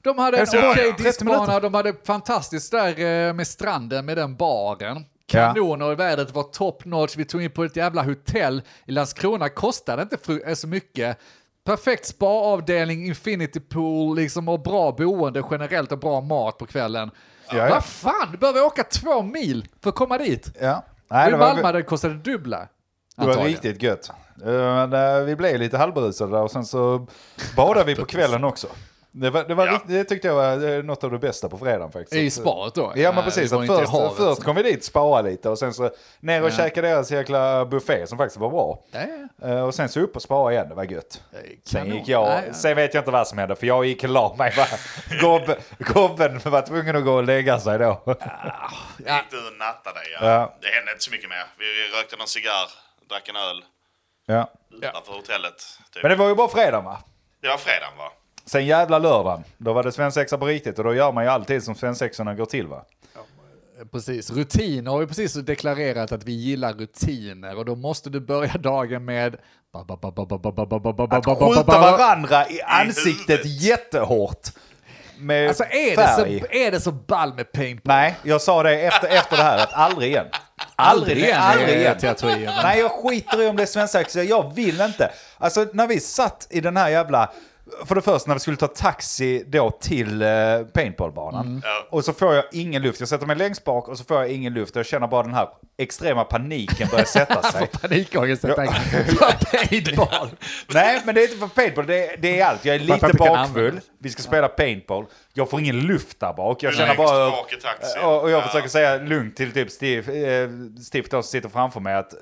Speaker 1: De hade en
Speaker 2: Helsingborg,
Speaker 1: okej
Speaker 2: 30
Speaker 1: diskbana,
Speaker 2: minuter.
Speaker 1: de hade fantastiskt där eh, med stranden, med den baren.
Speaker 2: Ja.
Speaker 1: Kanoner i vädret var top notch, vi tog in på ett jävla hotell i Landskrona, kostade inte fru- eh, så mycket. Perfekt spaavdelning, infinity pool liksom, och bra boende generellt och bra mat på kvällen.
Speaker 2: ja.
Speaker 1: Vad fan, du behöver åka två mil för att komå dit.
Speaker 2: Ja. Nej,
Speaker 1: och
Speaker 2: det
Speaker 1: I Malmö
Speaker 2: var,
Speaker 1: hade det kostade det dubbla.
Speaker 2: det var
Speaker 1: antagligen.
Speaker 2: riktigt gött. Eh, Men eh, vi blev lite halvberusade där och sen så badade vi på kvällen också. Det, var, det, var
Speaker 3: Ja.
Speaker 2: rikt- det tyckte jag var eh, något av det bästa på fredagen faktiskt.
Speaker 1: I
Speaker 2: Att, eh,
Speaker 1: sparet då?
Speaker 2: Ja men
Speaker 1: Nej,
Speaker 2: precis,
Speaker 1: det var
Speaker 2: att
Speaker 1: inte i
Speaker 2: först,
Speaker 1: havet.
Speaker 2: först kom vi dit, spara lite och sen så ner och käka deras jäkla buffé som faktiskt var bra.
Speaker 1: Ja, ja.
Speaker 2: Eh, Och sen så upp och spara igen, det var gött. Sen
Speaker 1: Kanon.
Speaker 2: gick jag,
Speaker 1: Nej, ja.
Speaker 2: sen vet jag inte vad som hände för jag gick och la mig.
Speaker 1: [LAUGHS]
Speaker 2: va. Gobb, gobben var tvungen att gå och lägga sig då.
Speaker 1: Ja.
Speaker 3: Gick du och nattade dig? Ja.
Speaker 2: Ja.
Speaker 3: Det hände inte så mycket mer. Vi rökte någon cigarr, drack en öl
Speaker 2: Ja.
Speaker 3: utanför hotellet. Typ.
Speaker 2: Men det var ju bara fredagen va?
Speaker 3: Det var fredagen va?
Speaker 2: Sen jävla lördagen, då var det svensexa på riktigt och då gör man ju alltid som svensexorna går till va?
Speaker 1: Precis, rutiner har ju precis deklarerat att vi gillar rutiner och då måste du börja dagen med...
Speaker 2: Att skjuta varandra i ansiktet
Speaker 3: huvudet.
Speaker 2: jättehårt. Med
Speaker 1: Alltså är det, så,
Speaker 2: färg.
Speaker 1: är det så ball med paintball?
Speaker 2: Nej, jag sa det efter, efter det här, att aldrig igen.
Speaker 1: Aldrig igen,
Speaker 2: aldrig
Speaker 1: är
Speaker 2: igen.
Speaker 1: teorin.
Speaker 2: Nej, jag skiter i om det är svensexa, jag vill inte. Alltså när vi satt i den här jävla... För det första när vi skulle ta taxi då till eh, paintballbanan.
Speaker 1: Mm.
Speaker 3: Ja.
Speaker 2: Och så får jag ingen luft. Jag sätter mig längst bak och så får jag ingen luft. Jag känner bara den här extrema paniken börja sätta
Speaker 1: [LAUGHS]
Speaker 2: sig.
Speaker 1: Panikångest helt enkelt. [LAUGHS] För
Speaker 2: [LAUGHS]
Speaker 1: paintball.
Speaker 2: Nej, men det är inte för paintball. Det är, det är allt. Jag är
Speaker 1: För att
Speaker 2: lite
Speaker 1: vi kan
Speaker 2: bakfull.
Speaker 1: använda.
Speaker 2: Vi ska spela paintball. Jag får ingen luft där bak. Jag
Speaker 3: Du
Speaker 2: känner
Speaker 3: längst
Speaker 2: bara...
Speaker 3: bak i taxin.
Speaker 2: Och, och jag
Speaker 3: Ja.
Speaker 2: försöker säga lugnt till typ Steve, eh, Steve då, som sitter framför mig att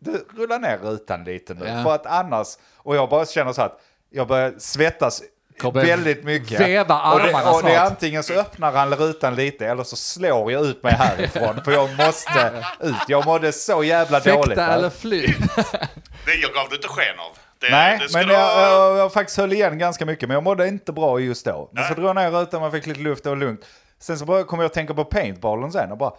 Speaker 2: du, rulla ner rutan lite nu.
Speaker 1: Ja.
Speaker 2: För att annars... Och jag bara känner så här att jag börjar svettas
Speaker 1: Kommer
Speaker 2: väldigt mycket.
Speaker 1: veva
Speaker 2: och det,
Speaker 1: armarna
Speaker 2: och det är
Speaker 1: snart.
Speaker 2: antingen så öppnar han rutan lite eller så slår jag ut mig härifrån. för jag måste ut. Jag mådde så jävla dåligt.
Speaker 1: Fäkta
Speaker 2: där.
Speaker 1: eller fly.
Speaker 3: Det jag gav du inte sken av.
Speaker 1: Eh,
Speaker 3: Det,
Speaker 2: Nej,
Speaker 3: det skulle
Speaker 2: men jag,
Speaker 3: vara-
Speaker 2: jag, jag faktiskt höll igen ganska mycket, men jag mådde inte bra just då. Men så drog jag ner rutan, man fick lite luft och lugnt. Sen så bara kom jag att tänka på paintballen sen och bara,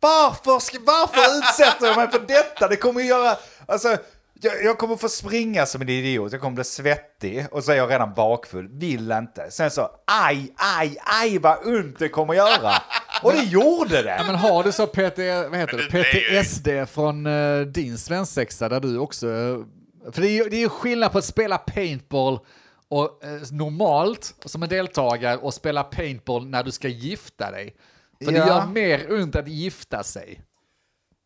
Speaker 2: varför, ska,
Speaker 1: [LAUGHS]
Speaker 2: varför utsätter jag mig för detta? Det kommer ju göra, alltså, jag, jag kommer få springa som en idiot, jag kommer bli svettig och så är jag redan bakfull, vill inte. Sen så, aj, aj, aj vad ont det kommer göra.
Speaker 1: [LAUGHS]
Speaker 2: Och det gjorde det.
Speaker 1: Men har du så PT, vad heter det?
Speaker 3: Men det- det är ju-
Speaker 1: PTSD från eh, din svensexa där du också... eh, för det är, ju, det är ju skillnad på att spela paintball och, eh, normalt som en deltagare och spela paintball när du ska gifta dig. För
Speaker 2: Ja.
Speaker 1: det gör mer ont att gifta sig.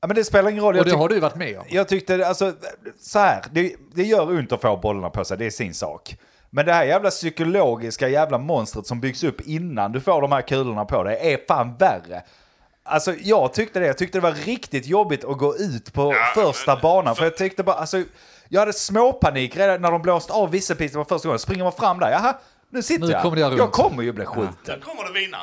Speaker 2: Ja, men det spelar ingen roll.
Speaker 1: Och
Speaker 2: jag
Speaker 1: det
Speaker 2: tyck-
Speaker 1: har du varit med om.
Speaker 2: Jag tyckte, alltså, så här, det, det gör ont att få bollarna på sig, det är sin sak. Men det här jävla psykologiska jävla monstret som byggs upp innan du får de här kulorna på dig är fan värre. Alltså jag tyckte det, jag tyckte det var riktigt jobbigt att gå ut på
Speaker 3: Ja,
Speaker 2: första
Speaker 3: men-
Speaker 2: banan. För jag tyckte bara, alltså, jag hade småpanik redan när de blåst av visselpipan för första gången. Springer man fram där, jaha, nu sitter
Speaker 1: Nu
Speaker 2: jag.
Speaker 1: kommer det göra
Speaker 2: jag
Speaker 1: ont.
Speaker 2: kommer ju bli skjuten.
Speaker 3: Där kommer det vina.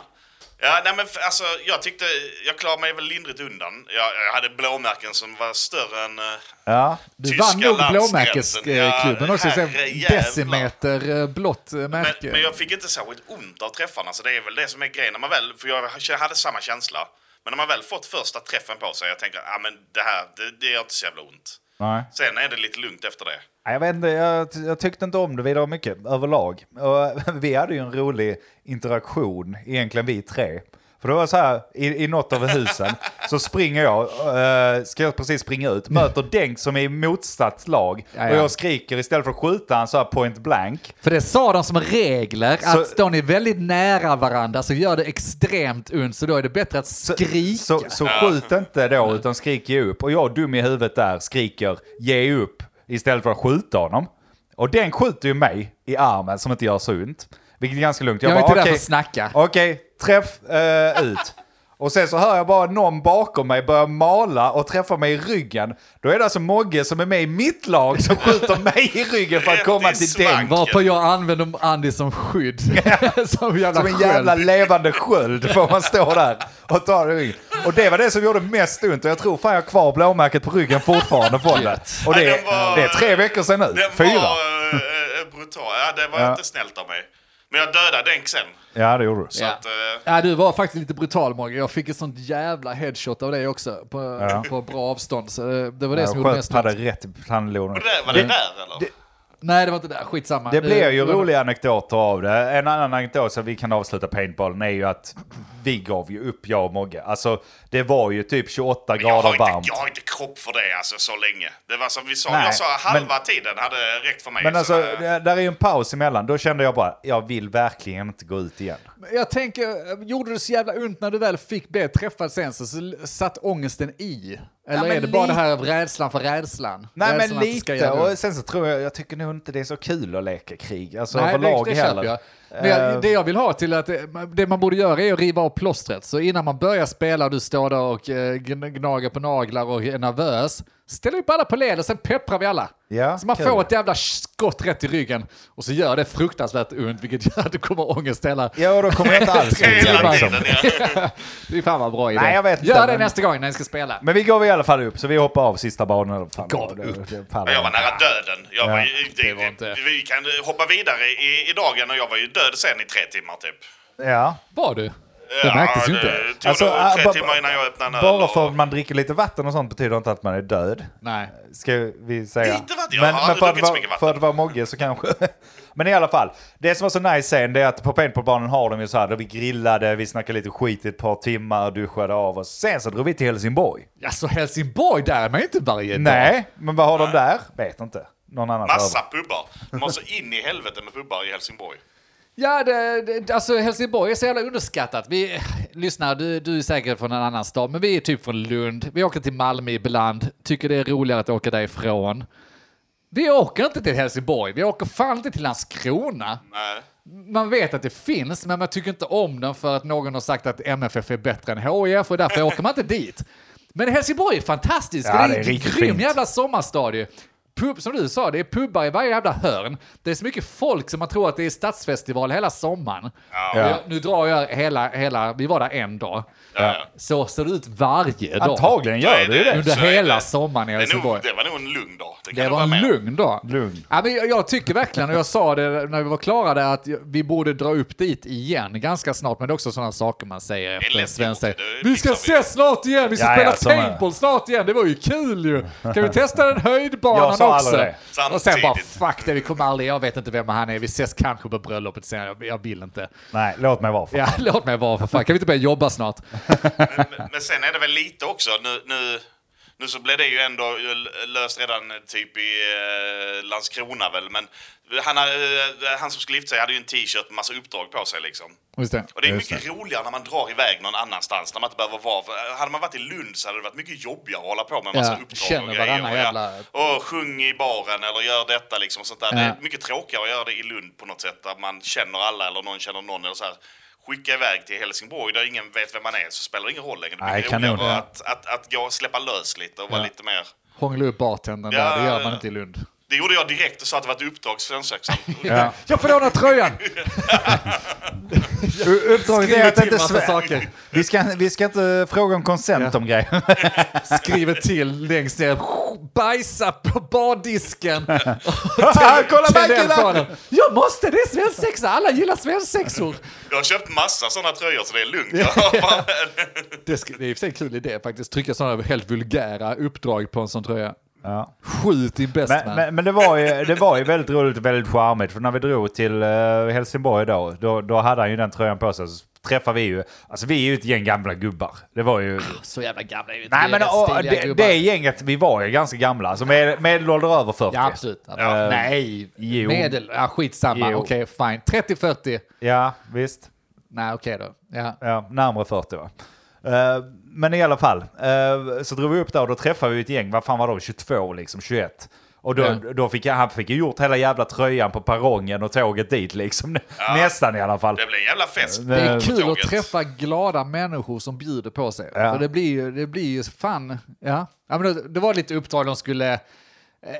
Speaker 3: Ja, nej men f- alltså, jag tyckte, jag klarade mig väl lindrigt undan. Jag, jag hade blåmärken som var större än... eh,
Speaker 2: Ja.
Speaker 1: Du
Speaker 3: Tyska
Speaker 1: vann nog
Speaker 3: landsgränsen.
Speaker 1: blåmärkesklubben
Speaker 3: Ja,
Speaker 1: också. så
Speaker 3: herrejävlar.
Speaker 1: Decimeter eh, blått eh,
Speaker 3: Men,
Speaker 1: märke.
Speaker 3: men jag fick inte särskilt ont av träffarna, så det är väl det som är grejen. När man väl, för jag k- hade samma känsla. Men när man väl fått första träffen på sig, jag tänker ah, men det här, det, det gör inte så jävla ont.
Speaker 2: Nej.
Speaker 3: Sen är det lite lugnt efter det.
Speaker 2: Ja, Jag vet inte, jag, jag tyckte inte om det vidare mycket överlag. Och, [LAUGHS] vi hade ju en rolig interaktion, egentligen vi tre. För det var så här, i, i något av husen så springer jag, eh, ska jag precis springa ut, möter Denk som är i motsatt lag.
Speaker 1: Ja, ja.
Speaker 2: Och jag skriker istället för att skjuta han så här point blank.
Speaker 1: För det sa de som regler,
Speaker 2: Så-
Speaker 1: att står ni väldigt nära varandra så gör det extremt ont, så då är det bättre att skrika.
Speaker 2: Så, så skjut inte då, utan skrik ge upp. Och jag, dum i huvudet där, skriker ge upp istället för att skjuta honom. Och den skjuter ju mig i armen som inte gör så ont. Vilket är ganska lugnt.
Speaker 1: Jag är inte där för
Speaker 2: okej,
Speaker 1: att snacka.
Speaker 2: [LAUGHS] Okej, träff eh, ut. Och sen så hör jag bara någon bakom mig börja mala och träffa mig i ryggen. Då är det alltså Mogge som är med i mitt lag som skjuter mig i ryggen för att
Speaker 3: [LAUGHS] Rätt
Speaker 2: komma
Speaker 3: i
Speaker 2: till
Speaker 3: svank.
Speaker 2: den.
Speaker 1: Varpå jag använder Andy som
Speaker 2: [LAUGHS]
Speaker 1: skydd. som jävla
Speaker 2: Som en jävla
Speaker 1: sköld.
Speaker 2: levande sköld får man stå där och ta det i ryggen. Och det var det som gjorde mest ont och jag tror fan jag har kvar blåmärket på ryggen fortfarande från det. Och det,
Speaker 3: Nej, den var-
Speaker 2: det är tre veckor sedan nu.
Speaker 3: Den
Speaker 2: Fyra.
Speaker 3: var eh, eh, brutal. Ja, det var
Speaker 2: Ja.
Speaker 3: inte snällt av mig. Men jag dödade Denk sen.
Speaker 2: Ja, det gjorde du.
Speaker 1: Ja.
Speaker 3: att, eh,
Speaker 1: ja, du var faktiskt lite brutal Mogge. Jag fick ett sånt jävla headshot av dig också på,
Speaker 2: Ja.
Speaker 1: på bra avstånd. Så det, det var det som
Speaker 2: Jag
Speaker 1: gjorde
Speaker 2: sköt
Speaker 1: mest
Speaker 2: padda
Speaker 1: ont.
Speaker 2: rätt i pannloden.
Speaker 3: Och det, var det, där eller?
Speaker 1: Nej, det var inte där. Skitsamma. Eh,
Speaker 2: Det blir ju
Speaker 1: det var-
Speaker 2: roliga anekdoter av det. En annan anekdot som vi kan avsluta paintballen är ju att vi gav ju upp, jag och Mogge. Alltså, det var ju typ 28
Speaker 3: Men jag, har
Speaker 2: grader
Speaker 3: inte,
Speaker 2: varmt.
Speaker 3: jag har inte kropp för det alltså, så länge. Det var som vi sa,
Speaker 2: Nej,
Speaker 3: jag sa halva
Speaker 2: men-
Speaker 3: tiden hade räckt för mig.
Speaker 2: Men
Speaker 3: så
Speaker 2: alltså,
Speaker 3: det-
Speaker 2: det- där är ju en paus emellan. Då kände jag bara, jag vill verkligen inte gå ut igen.
Speaker 1: Jag eh, tänker, gjorde det så jävla ont när du väl fick bli träffad sen så, så satt ångesten i. Eller
Speaker 2: Ja,
Speaker 1: är
Speaker 2: men
Speaker 1: det bara
Speaker 2: lite-
Speaker 1: det här av rädslan för rädslan?
Speaker 2: Nej
Speaker 1: rädslan
Speaker 2: men
Speaker 1: att det ska
Speaker 2: lite,
Speaker 1: göra
Speaker 2: och sen så tror jag, jag tycker nog inte det är så kul att leka krig, alltså
Speaker 1: Nej, det,
Speaker 2: överlag
Speaker 1: det
Speaker 2: heller.
Speaker 1: köper jag. Men jag,
Speaker 2: Eh,
Speaker 1: det jag vill ha till att eh, det man borde göra är att riva av plåstret. Så innan man börjar spela och du står där och eh, gn- gnager på naglar och är nervös, ställ upp alla på led och sen pepprar vi alla.
Speaker 2: Ja,
Speaker 1: så man
Speaker 2: kul.
Speaker 1: får ett jävla skott rätt i ryggen och så gör det fruktansvärt ont vilket gör att du kommer ångest [LAUGHS] hela...
Speaker 2: Ja, och då kommer jag inte alls ut
Speaker 3: Hela
Speaker 1: [LAUGHS]
Speaker 2: liksom.
Speaker 3: tiden, ja.
Speaker 1: Det är fan vad bra idé.
Speaker 2: Nej, jag vet inte,
Speaker 1: gör det
Speaker 2: men-
Speaker 1: nästa gång när ni ska spela.
Speaker 2: Men vi gav i alla fall upp, så vi hoppar av sista banan. Fan,
Speaker 1: Gav
Speaker 2: det-
Speaker 1: upp.
Speaker 2: det- fan.
Speaker 3: Ja, Jag var nära döden. Jag var
Speaker 2: Ja.
Speaker 3: ju, det,
Speaker 1: Det var inte-
Speaker 3: Vi kan hoppa vidare i, i dagen och jag var ju död sen i tre timmar typ.
Speaker 2: Ja.
Speaker 1: Var du? Det märktes ju inte.
Speaker 3: Det tog
Speaker 2: Alltså,
Speaker 3: nog
Speaker 2: äh,
Speaker 3: tre
Speaker 2: ba-
Speaker 3: timmar innan jag öppnade en öl.
Speaker 2: Bara
Speaker 3: och-
Speaker 2: för att man dricker lite vatten och sånt betyder inte att man är död.
Speaker 1: Nej.
Speaker 2: Ska vi säga.
Speaker 3: Lite vatten, jag har aldrig
Speaker 2: för, att
Speaker 3: druckit så
Speaker 2: vara,
Speaker 3: mycket vatten.
Speaker 2: för att vara Mogge så kanske. [LAUGHS] men i alla fall, det som var så nice sen det är att på paintballbanan har de ju så här, där vi grillade, vi snackade lite skit i ett par timmar, duschade av och sen så drog vi till Helsingborg.
Speaker 1: Ja, så Helsingborg, där är man ju inte varje dag.
Speaker 2: Nej, men vad har de där? Vet inte. Någon annan
Speaker 3: Massa
Speaker 2: server.
Speaker 3: pubbar. De har så in i helvete med pubbar i Helsingborg.
Speaker 1: Ja, det, det, alltså Helsingborg är så jävla underskattat. Vi, lyssna, du, du är säkert från en annan stad, men vi är typ från Lund. Vi åker till Malmö ibland, tycker det är roligare att åka därifrån. Vi åker inte till Helsingborg, vi åker fan inte till Landskrona.
Speaker 3: Nej.
Speaker 1: Man vet att det finns, men man tycker inte om den för att någon har sagt att MFF är bättre än HIF och därför åker man inte dit. Men Helsingborg är fantastiskt,
Speaker 2: Ja,
Speaker 1: det är,
Speaker 2: det är
Speaker 1: en
Speaker 2: riktigt
Speaker 1: grym
Speaker 2: fint.
Speaker 1: jävla sommarstad ju. Pub, som du sa, det är pubbar i varje jävla hörn. Det är så mycket folk som man tror att det är stadsfestival hela sommaren. Och Jag, nu drar jag hela, hela, vi var där en dag.
Speaker 3: Ja.
Speaker 1: Så ser det ut varje dag.
Speaker 2: Antagligen
Speaker 3: Så
Speaker 2: gör
Speaker 3: är
Speaker 2: det ju det.
Speaker 1: Under
Speaker 3: Så är
Speaker 1: hela
Speaker 3: det.
Speaker 1: sommaren i
Speaker 3: Det, är
Speaker 1: Helsingborg.
Speaker 3: nog, det var nog en lugn dag. kan
Speaker 1: Det
Speaker 3: jag
Speaker 1: var
Speaker 3: hålla
Speaker 1: en
Speaker 3: med om.
Speaker 1: lugn dag.
Speaker 2: Lugn.
Speaker 1: Ja, men jag, jag tycker verkligen, och jag sa det när vi var klara där, att vi borde dra upp dit igen ganska snart. Men det är också sådana saker man säger efter en
Speaker 3: lätt
Speaker 1: svensk
Speaker 3: gjort,
Speaker 1: dag.
Speaker 3: det
Speaker 1: Vi ska
Speaker 3: fixar Liksom, vi.
Speaker 1: ses snart igen, vi ska
Speaker 2: Ja,
Speaker 1: spela
Speaker 2: ja, som är-
Speaker 1: paintball snart igen, det var ju kul ju. Kan vi testa den höjdbanan
Speaker 2: Jag sa aldrig
Speaker 1: också?
Speaker 2: det.
Speaker 1: Och sen bara
Speaker 3: Samtidigt.
Speaker 1: fuck det, vi kommer aldrig, jag vet inte vem han är, vi ses kanske på bröllopet sen, jag, jag vill inte.
Speaker 2: Nej, låt mig vara. för
Speaker 1: Ja, [LAUGHS] låt mig vara för fan, kan vi inte börja jobba snart?
Speaker 3: Men, men sen är det väl lite också, nu, nu, nu så blev det ju ändå löst redan typ i eh, Landskrona väl, men han, har, eh, han som skulle gifta sig hade ju en t-shirt med massa uppdrag på sig liksom.
Speaker 1: Just det.
Speaker 3: Och det är
Speaker 2: Just
Speaker 3: mycket roligare när man drar iväg någon annanstans, när man inte behöver vara... för- Hade man varit i Lund så hade det varit mycket jobbigare att hålla på med en massa
Speaker 1: Ja,
Speaker 3: uppdrag
Speaker 1: känner
Speaker 3: och grejer.
Speaker 1: varannan
Speaker 3: och,
Speaker 1: jävla-
Speaker 3: och sjung i baren eller gör detta liksom och sånt där. Det
Speaker 1: Ja.
Speaker 3: är mycket tråkigare att göra det i Lund på något sätt, där man känner alla eller någon känner någon eller så här. Skicka iväg till Helsingborg där ingen vet vem man är så spelar det ingen roll längre. Det är
Speaker 2: Nej,
Speaker 3: mycket
Speaker 2: kanon,
Speaker 3: roligare
Speaker 2: ja.
Speaker 3: att, att, att gå och släppa lös lite och vara lite mer...
Speaker 1: Hångla upp bartendern
Speaker 3: Ja,
Speaker 1: där, det
Speaker 3: ja,
Speaker 1: gör
Speaker 3: ja.
Speaker 1: man inte i Lund.
Speaker 3: Det gjorde jag direkt och sa att det var ett uppdrag sönsöksamt.
Speaker 2: Ja.
Speaker 1: Jag får låna tröjan!
Speaker 2: U- Uppdraget är
Speaker 1: Skriver
Speaker 2: att
Speaker 1: till
Speaker 2: inte
Speaker 1: massa
Speaker 2: svär.
Speaker 1: saker.
Speaker 2: Vi ska, vi ska inte fråga om konsent om grejer.
Speaker 1: skriver till längst ner. Bajsa på bardisken. [LAUGHS]
Speaker 2: Kolla
Speaker 1: Till
Speaker 2: backen
Speaker 1: den
Speaker 2: där!
Speaker 1: planen. Jag måste, det är svensexa. Alla gillar svensexor.
Speaker 3: Jag har köpt massa sådana tröjor så det är lugnt. Jag har bara- [LAUGHS]
Speaker 1: Det, sk- det är i och för sig en kul idé faktiskt. Trycka sådana helt vulgära uppdrag på en sån tröja.
Speaker 2: Ja.
Speaker 1: Skjut din bäst
Speaker 2: Men,
Speaker 1: man.
Speaker 2: men, men det, var ju, det var ju väldigt roligt och väldigt charmigt. För när vi drog till eh, Helsingborg då, då, då hade han ju den tröjan på sig. Så träffade vi ju, alltså vi är ju ett gäng gamla gubbar. Det var ju...
Speaker 1: Så jävla gamla Ah, är vi inte.
Speaker 2: Nej men
Speaker 1: Vi är rätt
Speaker 2: och,
Speaker 1: stiliga
Speaker 2: det,
Speaker 1: gubbar.
Speaker 2: det gänget, vi var ju ganska gamla. Alltså med, medelålder över 40.
Speaker 1: Ja, absolut.
Speaker 2: Eh,
Speaker 1: Nej,
Speaker 2: jo.
Speaker 1: medel. Ja, skitsamma.
Speaker 2: Jo.
Speaker 1: Okej, fine. 30-40.
Speaker 2: Ja, visst.
Speaker 1: Nej, okej då. Ja.
Speaker 2: Ja, närmare 40 va. Eh, men i alla fall, eh, så drog vi upp där och då träffade vi ett gäng, vad fan var de, 22 liksom, 21. Och då,
Speaker 1: Ja.
Speaker 2: då fick jag, han fick ju gjort hela jävla tröjan på perrongen och tåget dit liksom. [LAUGHS] Nästan i alla fall.
Speaker 3: Det blev en jävla fest.
Speaker 1: Det är
Speaker 2: Eh,
Speaker 1: kul att
Speaker 3: tåget.
Speaker 1: träffa glada människor som bjuder på sig.
Speaker 2: Ja.
Speaker 1: För det blir ju, det blir ju fan, ja. ja men det, det var lite uppdrag de skulle, eh,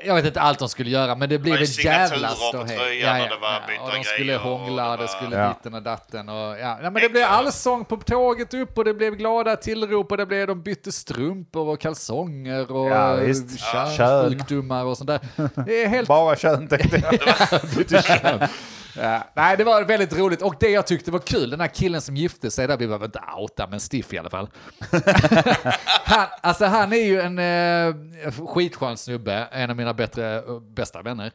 Speaker 1: jag vet inte allt de skulle göra, men det blev
Speaker 3: var ju
Speaker 1: ett jävla
Speaker 3: signaturer på
Speaker 1: ståhej.
Speaker 3: tröjan och det var byta
Speaker 1: och de skulle
Speaker 3: grejer
Speaker 1: hångla,
Speaker 3: och det
Speaker 1: det
Speaker 3: var-
Speaker 1: skulle
Speaker 2: Ja.
Speaker 1: ditten och datten. Och, ja. Ja, men det blev allsång på tåget upp och det blev glada tillrop och det blev, de bytte strumpor och kalsonger och
Speaker 2: Ja,
Speaker 1: eh,
Speaker 2: visst. Ja.
Speaker 1: könssjukdomar och sånt där. Det är helt
Speaker 2: Bara
Speaker 1: [LAUGHS]
Speaker 2: kön tänkte jag.
Speaker 1: Ja, nej, det var väldigt roligt. Och det jag tyckte var kul, den här killen som gifte sig där, vi behöver inte outa, men stiff i alla fall. [LAUGHS] han, alltså han är ju en eh, skitskön snubbe, en av mina bättre, bästa vänner.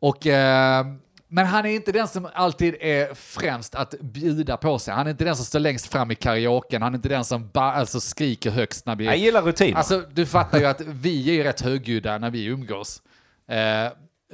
Speaker 1: Och, eh, men han är inte den som alltid är främst att bjuda på sig. Han är inte den som står längst fram i karaoken. Han är inte den som ba, alltså skriker högst när vi...
Speaker 2: Jag gillar rutin.
Speaker 1: Alltså, du fattar ju att vi är ju rätt högljudda när vi umgås. Eh,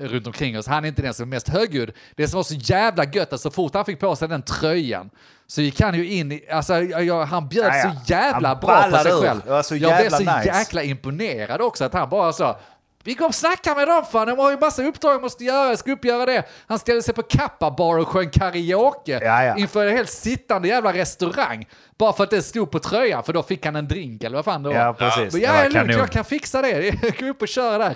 Speaker 1: runt omkring oss. Han är inte den som är mest högljudd. Det som var så jävla gött att så fort han fick på sig den tröjan så gick han ju in i, alltså jag, jag, han bjöd
Speaker 2: Ja, ja.
Speaker 1: så jävla
Speaker 2: Han
Speaker 1: bra på sig
Speaker 2: ballade ur.
Speaker 1: själv.
Speaker 2: Det var så
Speaker 1: jag blev
Speaker 2: jävla
Speaker 1: så
Speaker 2: nice.
Speaker 1: jäkla imponerad också att han bara sa vi går och snackar med dem fan, de har ju massa uppdrag de måste göra, jag ska uppgöra det. Han ställde sig på Kappa Bar och sjöng karaoke
Speaker 2: Ja, ja.
Speaker 1: inför en helt sittande jävla restaurang. Bara för att det stod på tröjan, för då fick han en drink eller vad fan det var.
Speaker 2: Ja, precis.
Speaker 1: Men
Speaker 2: Det
Speaker 1: jag
Speaker 2: var
Speaker 1: är lugnt,
Speaker 2: kanon.
Speaker 1: jag kan fixa det. [LAUGHS] Jag kan upp och köra där.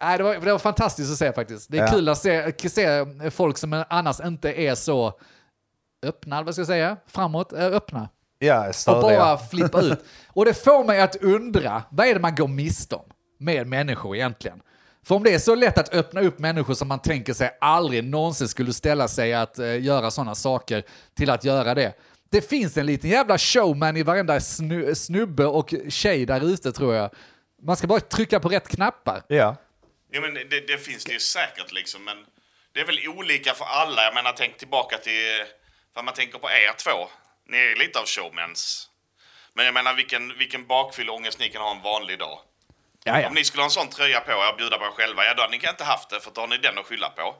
Speaker 1: Nej, det, var, det var fantastiskt att se faktiskt. Det är
Speaker 2: Ja.
Speaker 1: kul att se, se folk som annars inte är så öppna, eller vad ska jag säga, framåt, eh, öppna.
Speaker 2: Ja,
Speaker 1: Och
Speaker 2: störiga.
Speaker 1: bara flippa ut. Och det får mig att undra, vad är det man går miste om med människor egentligen? För om det är så lätt att öppna upp människor som man tänker sig aldrig någonsin skulle ställa sig att eh, göra sådana saker till att göra det. Det finns en liten jävla showman i varenda snu, snubbe och tjej där ute tror jag. Man ska bara trycka på rätt knappar.
Speaker 2: Ja.
Speaker 3: Ja, men det, det finns det ju säkert liksom, men det är väl olika för alla. Jag menar, tänk tillbaka till vad man tänker på er två. Ni är lite av showmans. Men jag menar, vilken, vilken bakfylleångest ni kan ha en vanlig dag.
Speaker 1: Ja, ja.
Speaker 3: Om ni skulle ha en sån tröja på er och bjuda på er själva, ja då hade ni kan inte haft det, för då har ni den att skylla på.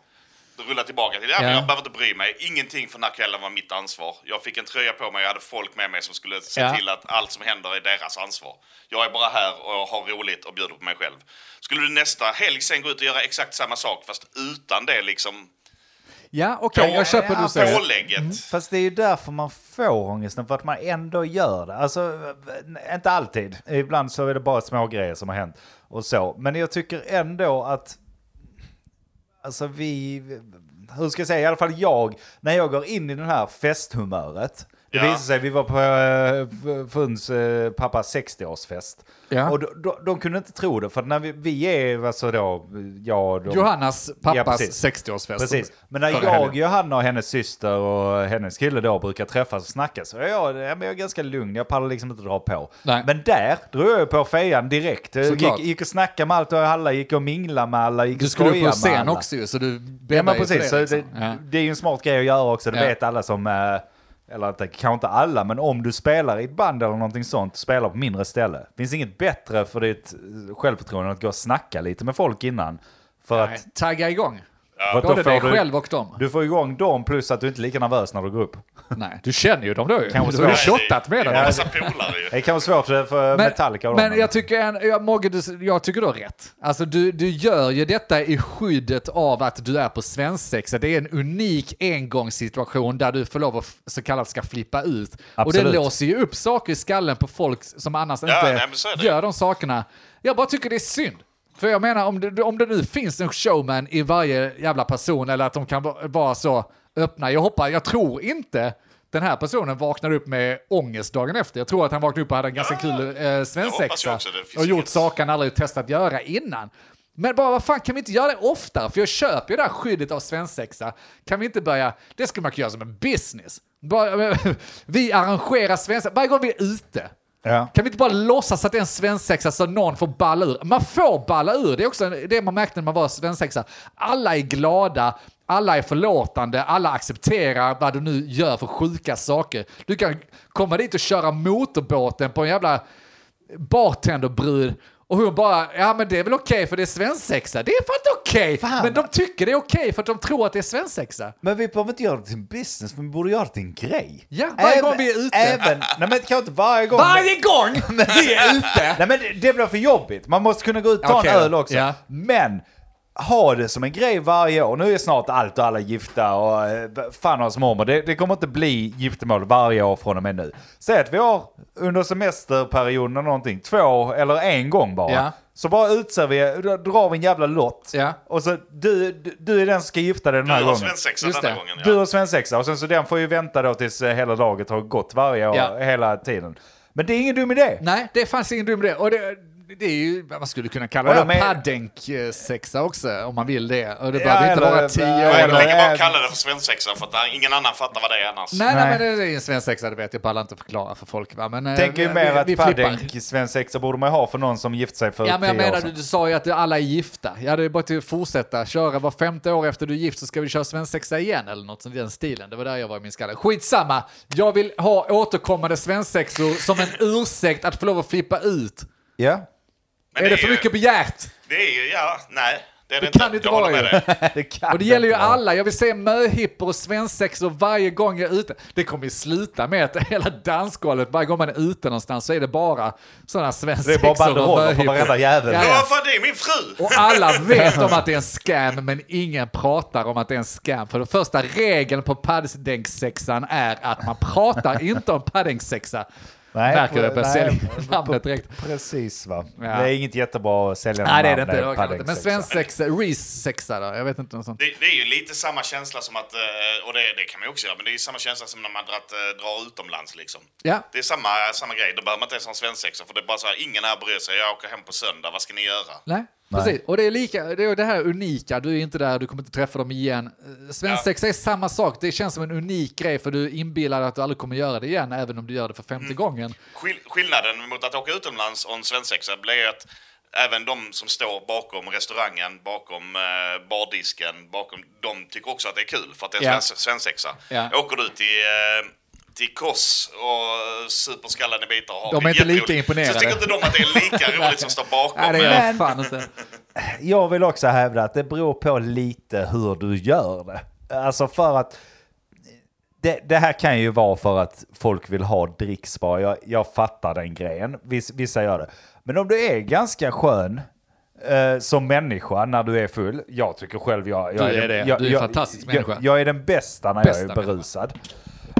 Speaker 3: Då rullar tillbaka till det. Ja, men
Speaker 1: Ja.
Speaker 3: Jag behöver inte bry mig. Ingenting från den här kvällen var mitt ansvar. Jag fick en tröja på mig och jag hade folk med mig som skulle se
Speaker 1: Ja.
Speaker 3: till att allt som händer är deras ansvar. Jag är bara här och har roligt och bjuder på mig själv. Skulle du nästa helg sen gå ut och göra exakt samma sak, fast utan det liksom
Speaker 1: Ja, okej, jag köper
Speaker 2: Ja,
Speaker 1: det du säger. Mm.
Speaker 3: pålägget?
Speaker 2: Fast det är ju därför man får ångesten, för att man ändå gör det. Alltså, inte alltid. Ibland så är det bara små grejer som har hänt och så. Men jag tycker ändå att, alltså vi, hur ska jag säga, i alla fall jag, när jag går in i den här festhumöret, det
Speaker 3: Ja.
Speaker 2: visar sig, vi var på äh, Funs eh, pappas 60-årsfest.
Speaker 1: Ja.
Speaker 2: Och de, de, de kunde inte tro det, för när vi, vi är, alltså då, jag, de,
Speaker 1: Johannas pappas
Speaker 2: precis.
Speaker 1: 60-årsfest.
Speaker 2: Precis. Men när
Speaker 1: Förra
Speaker 2: jag,
Speaker 1: helgen.
Speaker 2: Johanna och hennes syster och hennes kille då brukar träffas och snacka så är jag, ja, men jag är ganska lugn. Jag pallar liksom inte dra på.
Speaker 1: Nej.
Speaker 2: Men där drog jag ju på fejan direkt. Jag
Speaker 1: Såklart.
Speaker 2: Gick, gick och snackade med allt och alla, gick och mingla med alla, gick
Speaker 1: Du
Speaker 2: och
Speaker 1: skulle
Speaker 2: skojade
Speaker 1: upp på
Speaker 2: med
Speaker 1: scen
Speaker 2: alla.
Speaker 1: också ju, så du
Speaker 2: Ja,
Speaker 1: bäddar
Speaker 2: men
Speaker 1: ju för
Speaker 2: precis. Så det,
Speaker 1: liksom. Ja.
Speaker 2: det är ju en smart grej att göra också. Det
Speaker 1: Ja.
Speaker 2: vet alla som, eh, eller inte, kanske inte alla, men om du spelar i ett band eller någonting sånt, spelar på mindre ställe. finns inget bättre för ditt eh, självförtroende än att gå och snacka lite med folk innan. För att
Speaker 1: Nej, Tagga igång.
Speaker 2: för att då
Speaker 1: Både dig
Speaker 2: får du-
Speaker 1: själv och dem.
Speaker 2: Du får igång dem plus att du inte är lika nervös när du går upp.
Speaker 1: Nej, du känner ju dem då ju. Du
Speaker 2: Kanske
Speaker 1: har ju
Speaker 2: så.
Speaker 1: shottat med
Speaker 3: Det
Speaker 1: dem.
Speaker 3: var massa polare
Speaker 2: [LAUGHS]
Speaker 3: ju.
Speaker 2: Det kan vara svårt för Metallica och dem.
Speaker 1: men jag tycker, en, ja, Mogge, du, jag tycker du har rätt. Alltså du, du gör ju detta i skyddet av att du är på svensexa. Det är en unik engångssituation där du får lov att f- så kallat ska flippa ut. Och
Speaker 2: Absolut.
Speaker 1: det låser ju upp saker i skallen på folk som annars
Speaker 3: nej,
Speaker 1: inte
Speaker 3: men så är det.
Speaker 1: gör de sakerna. Jag bara tycker det är synd. För jag menar, om det, om det nu finns en showman i varje jävla person eller att de kan va- vara så öppna. Jag hoppas, jag tror inte den här personen vaknade upp med ångest dagen efter. Jag tror att han vaknade upp och hade en ganska kul eh,
Speaker 3: hoppas jag
Speaker 1: svensexa
Speaker 3: också. Det finns
Speaker 1: och gjort
Speaker 3: inget-
Speaker 1: saker han aldrig testat göra innan. Men bara vad fan kan vi inte göra det oftare? För jag köper ju det här skyddet av svensexa. Kan vi inte börja, det skulle man kunna göra som en business. Bara, [LAUGHS] vi arrangerar svensexa, varje gång vi är ute.
Speaker 2: Ja.
Speaker 1: Kan vi inte bara låtsas att det är en svensexa så någon får balla ur? Man får balla ur, det är också det man märkte när man var svensexa. Alla är glada, alla är förlåtande, alla accepterar vad du nu gör för sjuka saker. Du kan komma dit och köra motorbåten på en jävla bartenderbrud och hon bara, ja men det är väl okej för det är svensexa. Det är fan inte okej!
Speaker 2: Fan.
Speaker 1: Men de tycker det är okej för att de tror att det är svensexa.
Speaker 2: Men vi behöver inte göra det till en business, men vi borde göra det till en grej.
Speaker 1: Ja, varje gång vi är ute.
Speaker 2: Även, nej men det kan inte varje gång.
Speaker 1: Varje gång vi är ute!
Speaker 2: Nej men det, det blir för jobbigt. Man måste kunna gå ut och ta
Speaker 1: Okej
Speaker 2: en
Speaker 1: då.
Speaker 2: öl också.
Speaker 1: Ja.
Speaker 2: Men ha det som en grej varje år. Nu är snart allt och alla gifta och eh, fan och mormor. Det, det kommer inte bli giftermål varje år från och med nu. Säg att vi har under semesterperioden eller någonting, två eller en gång bara.
Speaker 1: Ja.
Speaker 2: Så bara utser vi, då drar vi en jävla lott.
Speaker 1: Ja.
Speaker 2: Och så du, du, du är den som ska gifta dig den
Speaker 3: Du
Speaker 2: här
Speaker 3: har
Speaker 2: gången.
Speaker 3: svensexa
Speaker 1: Just
Speaker 3: denna
Speaker 1: det.
Speaker 3: gången.
Speaker 2: Du
Speaker 3: Ja.
Speaker 2: och svensexa och sen så den får ju vänta då tills eh, hela laget har gått varje år,
Speaker 1: Ja.
Speaker 2: hela tiden. Men det är ingen dum idé.
Speaker 1: Nej, det fanns ingen dum idé. Och det, det är ju vad man skulle kunna kalla
Speaker 2: Och
Speaker 1: det,
Speaker 2: de är-
Speaker 1: paddenk-sexa också, om man vill det. Och det
Speaker 2: Ja,
Speaker 1: behöver inte
Speaker 2: eller-
Speaker 1: vara tio
Speaker 3: Jag
Speaker 1: år.
Speaker 2: eller-
Speaker 3: tänker bara
Speaker 2: Äh,
Speaker 3: kalla det för svensexa, för att ingen annan fattar vad det är annars.
Speaker 1: Nej, nej,
Speaker 2: Nej.
Speaker 1: men det är ju en svensexa, det vet jag. Jag pallar inte förklara för folk. Va? Men, eh,
Speaker 2: tänker ju
Speaker 1: vi-
Speaker 2: mer
Speaker 1: vi
Speaker 2: att
Speaker 1: flippar.
Speaker 2: Paddink svensexa borde man ju ha för någon som gift sig för
Speaker 1: Ja, men jag
Speaker 2: 10 år
Speaker 1: menar,
Speaker 2: sedan.
Speaker 1: du, du sa ju att alla är gifta. Ja, det är bara till att fortsätta köra. Var femte år efter du är gift så ska vi köra svensexa igen, eller något sånt i den stilen. Det var där jag var i min skalle. Skitsamma! Jag vill ha återkommande svensexor som en ursäkt att få lov att flippa ut.
Speaker 2: Ja. [LAUGHS]
Speaker 3: Men
Speaker 1: är det
Speaker 3: är
Speaker 1: för
Speaker 3: ju-
Speaker 1: mycket begärt?
Speaker 3: Det är ju, ja, nej. Det Det är det
Speaker 1: Det kan
Speaker 3: inte.
Speaker 1: inte
Speaker 3: Jag håller
Speaker 1: vara
Speaker 3: med
Speaker 1: ju. [LAUGHS]
Speaker 3: dig.
Speaker 2: Det kan
Speaker 1: Och det gäller ju
Speaker 2: inte vara.
Speaker 1: alla. Jag vill se möhippor och svensexor varje gång jag är ute. Det kommer ju sluta med att hela dansgolvet, varje gång man är ute någonstans så är det bara sådana
Speaker 2: Det är
Speaker 1: svensexor
Speaker 2: bara
Speaker 1: och
Speaker 2: banderoller på
Speaker 1: möhippor.
Speaker 2: varenda jävel.
Speaker 1: Ja,
Speaker 3: Ja, fan det är min fru!
Speaker 1: Och alla vet om att det är en scam, men ingen pratar om att det är en scam. För den första regeln på paddänkssexan är att man pratar inte om paddänksexa.
Speaker 2: Nej,
Speaker 1: Märker du
Speaker 2: pre-
Speaker 1: att jag
Speaker 2: nej,
Speaker 1: säljer
Speaker 2: pre-
Speaker 1: namnet direkt?
Speaker 2: [LAUGHS] Precis va.
Speaker 1: Ja.
Speaker 2: Det är inget jättebra säljande
Speaker 1: Nej, det är det
Speaker 2: namn,
Speaker 1: inte. Det kan
Speaker 2: Padding
Speaker 1: inte. Men
Speaker 2: Sexa.
Speaker 1: svensexa, resexa då? Jag vet inte. Något sånt.
Speaker 3: Det, det är ju lite samma känsla som att, eh, och det, det kan man ju också göra, men det är ju samma känsla som när man dratt, eh, drar utomlands liksom.
Speaker 1: Ja,
Speaker 3: Det är samma, samma grej, då behöver man inte ens ha en svensexa för det är bara så här, ingen här bryr sig, jag åker hem på söndag, vad ska ni göra?
Speaker 1: Nej, precis. Och det är lika, det, är det här unika, du är inte där, du kommer inte träffa dem igen. Eh, Svensexa är samma sak, det känns som en unik grej för du inbillar dig att du aldrig kommer göra det igen, även om du gör det för femte
Speaker 3: Mm.
Speaker 1: gången.
Speaker 3: Skill skillnaden mot att åka utomlands och en svensexa blir ju att även de som står bakom restaurangen, bakom eh, bardisken, bakom, de tycker också att det är kul för att det är en
Speaker 1: Ja.
Speaker 3: svens- svensexa.
Speaker 1: Ja.
Speaker 3: Åker du till, eh, till Kos och super skallen i bitar och har
Speaker 1: De är
Speaker 3: det
Speaker 1: inte lika
Speaker 3: jätteroligt,
Speaker 1: imponerade.
Speaker 3: Så tycker inte de att det är
Speaker 1: [LAUGHS]
Speaker 3: [LAUGHS] lika roligt som står bakom. Eh,
Speaker 1: Nej, det gör
Speaker 2: Men-
Speaker 1: jag fan inte.
Speaker 2: Jag vill också hävda att det beror på lite hur du gör det. Alltså för att det, det här kan ju vara för att folk vill ha dricksbar. Jag, jag fattar den grejen. Viss, vissa gör det. Men om du är ganska skön eh, som människa när du är full. Jag tycker själv jag, jag
Speaker 1: Du är
Speaker 2: den-
Speaker 1: det. Du är en fantastisk
Speaker 2: jag,
Speaker 1: människa.
Speaker 2: Jag är den bästa när
Speaker 1: Bästa
Speaker 2: jag är
Speaker 1: människa.
Speaker 2: berusad.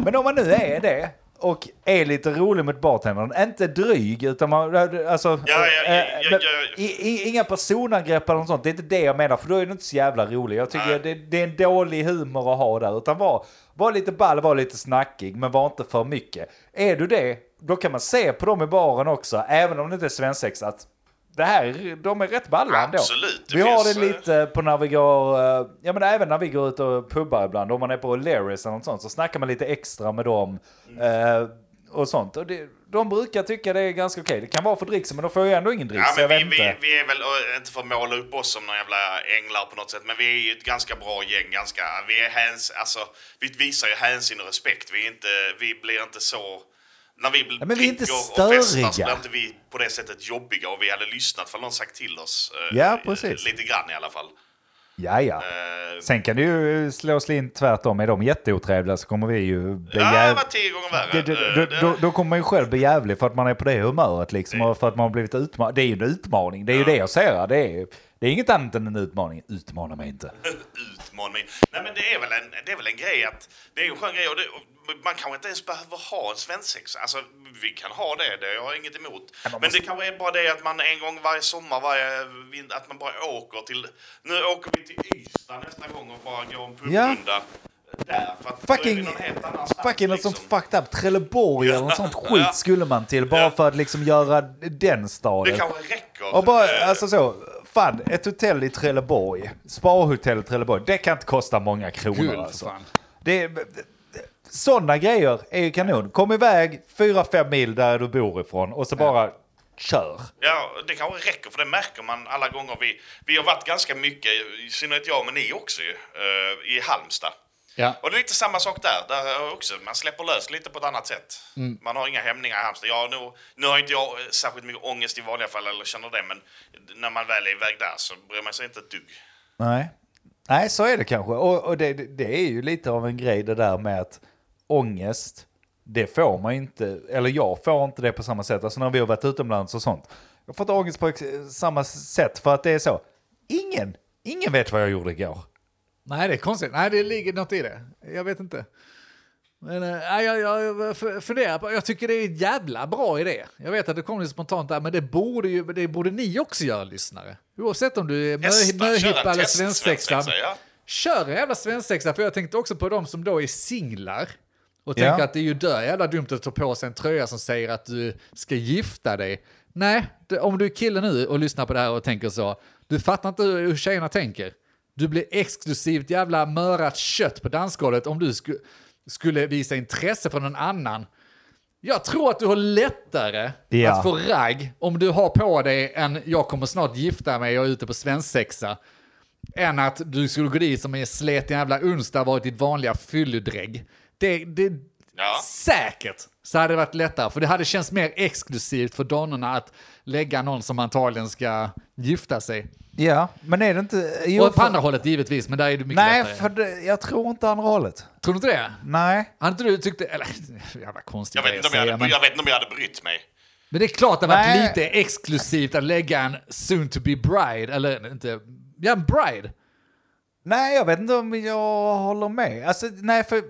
Speaker 2: Men om man nu är det och är lite rolig mot bartendern, inte dryg utan man, alltså...
Speaker 3: ja, ja,
Speaker 2: eh,
Speaker 3: ja, ja,
Speaker 2: men-
Speaker 3: ja.
Speaker 2: i, i, inga personangrepp eller något sånt. Det är inte det jag menar, för då är du inte så jävla rolig. Jag tycker det, det är en dålig humor att ha där. Utan var, var lite ball, var lite snackig, men var inte för mycket. Är du det, då kan man se på dem i baren också, även om det inte är svensex, att det här, de är rätt balla ändå.
Speaker 3: Absolut, det
Speaker 2: Vi har
Speaker 3: finns,
Speaker 2: det
Speaker 3: eh,
Speaker 2: lite på när vi går, eh, ja men även när vi går ut och pubbar ibland, om man är på O'Learys eller något sånt, så snackar man lite extra med dem.
Speaker 3: Mm.
Speaker 2: eh, Och sånt. Och det, de brukar tycka det är ganska okej. Det kan vara för dricks, men de får ju ändå ingen dricks.
Speaker 3: Ja,
Speaker 2: jag
Speaker 3: men
Speaker 2: vet
Speaker 3: vi, vi,
Speaker 2: inte.
Speaker 3: vi är väl, och inte för att måla upp oss som några jävla änglar på något sätt, men vi är ju ett ganska bra gäng. Ganska, vi, är häns, alltså, vi visar ju hänsyn och respekt. Vi, är inte, vi blir inte så... När vi bl-
Speaker 2: Ja, men vi är inte
Speaker 3: dricker
Speaker 2: störiga.
Speaker 3: så blir inte vi på det sättet jobbiga och vi hade lyssnat för någon sagt till oss. eh,
Speaker 2: Ja, precis.
Speaker 3: Lite grann i alla fall.
Speaker 2: Ja, ja.
Speaker 3: Eh,
Speaker 2: Sen kan det ju slå slint tvärtom. Är de jätteotrevliga så kommer vi ju bli
Speaker 3: ja, det
Speaker 2: jäv...
Speaker 3: var tio gånger
Speaker 2: det,
Speaker 3: värre.
Speaker 2: det,
Speaker 3: Eh,
Speaker 2: då,
Speaker 3: det- Mm.
Speaker 2: då, då kommer man ju själv bli jävlig för att man är på det humöret liksom. Och för att man har blivit utmanad. Det är ju en utmaning. Det är ju det jag säger. här. Det är, det är inget annat än en utmaning. Utmana mig inte.
Speaker 3: utmaning. Nej men det är väl en, det är väl en grej att, det är en skön grej och, det, och man kanske inte ens behöver ha en svensexa. Alltså vi kan ha det, det har jag inget emot. Men, det kanske är bara det att man en gång varje sommar, varje vinter, att man bara åker till, nu åker vi till Ystad nästa gång och bara går en pubrunda. Där, för att då är vi
Speaker 2: Fucking-
Speaker 3: någon helt annanstans,
Speaker 2: Fucking något
Speaker 3: liksom.
Speaker 2: sånt fucked up. Trelleborg eller något sånt
Speaker 3: Ja.
Speaker 2: skit skulle man till. Bara
Speaker 3: Ja.
Speaker 2: för att liksom göra den
Speaker 3: Det
Speaker 2: staden.
Speaker 3: kanske räcker.
Speaker 2: Och bara,
Speaker 3: Eh,
Speaker 2: alltså så. Fan, ett hotell i Trelleborg. Sparhotell i Trelleborg. Det kan inte kosta många kronor
Speaker 1: Guld,
Speaker 2: alltså.
Speaker 1: fan.
Speaker 2: Det, sådana grejer är ju kanon. Kom iväg 4-5 mil där du bor ifrån och så bara kör.
Speaker 3: Ja, det kanske räcker för det märker man alla gånger vi... Vi har varit ganska mycket, i synnerhet jag men ni också ju, eh, i Halmstad.
Speaker 1: Ja.
Speaker 3: Och det är lite samma sak där, där också. Man släpper lös lite på ett annat sätt.
Speaker 1: Mm.
Speaker 3: Man har inga hämningar i Halmstad. Ja, nu, nu har inte jag eh, särskilt mycket ångest i vanliga fall eller känner det, men när man väl är iväg där så bryr man sig inte ett dugg.
Speaker 2: Nej. Nej, så är det kanske. Och, och det, det är ju lite av en grej det där med att ångest, det får man inte, eller jag får inte det på samma sätt. Alltså när vi har varit utomlands och sånt. Jag får inte ångest på ex- samma sätt för att det är så. Ingen, ingen vet vad jag gjorde igår.
Speaker 1: Nej, det är konstigt. Nej, det ligger något i det. Jag vet inte. Men eh, nej, jag, jag, jag fu- funderar på, jag tycker det är en jävla bra idé. Jag vet att det kom lite spontant där, men det borde, ju, det borde ni också göra lyssnare. Oavsett om du är mö-
Speaker 3: Testa, köra en
Speaker 1: möhippa eller
Speaker 3: test,
Speaker 1: svensexa.
Speaker 3: svensexa, ja.
Speaker 1: Kör en jävla svensexa, för jag tänkte också på de som då är singlar. Och
Speaker 2: Ja.
Speaker 1: tänker att det är ju dör jävla dumt att ta på sig en tröja som säger att du ska gifta dig. Nej, det, om du är kille nu och lyssnar på det här och tänker så, du fattar inte hur hur tjejerna tänker. Du blir exklusivt jävla mörat kött på dansgolvet om du sku, skulle visa intresse för någon annan. Jag tror att du har lättare
Speaker 2: Ja.
Speaker 1: att få ragg om du har på dig en jag kommer snart gifta mig, jag är ute på svensexa. Än att du skulle gå dit som en sleten jävla onsdag och varit ditt vanliga fylledrägg. Det, det,
Speaker 3: Ja.
Speaker 1: säkert så hade det varit lättare. För det hade känts mer exklusivt för donnorna att lägga någon som antagligen ska gifta sig.
Speaker 2: Ja, men är det inte... jo,
Speaker 1: och på
Speaker 2: för-
Speaker 1: andra hållet givetvis, men där är det mycket
Speaker 2: Nej,
Speaker 1: lättare.
Speaker 2: för det, jag tror inte andra hållet.
Speaker 1: Tror du inte det?
Speaker 2: Nej.
Speaker 1: Har inte du tyckt det? Eller, [LAUGHS] jävla konstigt
Speaker 3: Jag vet, inte om jag, hade,
Speaker 1: men,
Speaker 3: jag vet inte om jag hade brytt mig.
Speaker 1: men det är klart att det har
Speaker 2: Nej.
Speaker 1: varit lite exklusivt att lägga en soon to be bride, eller inte, ja en bride.
Speaker 2: Nej, jag vet inte om jag håller med. Alltså, nej, för...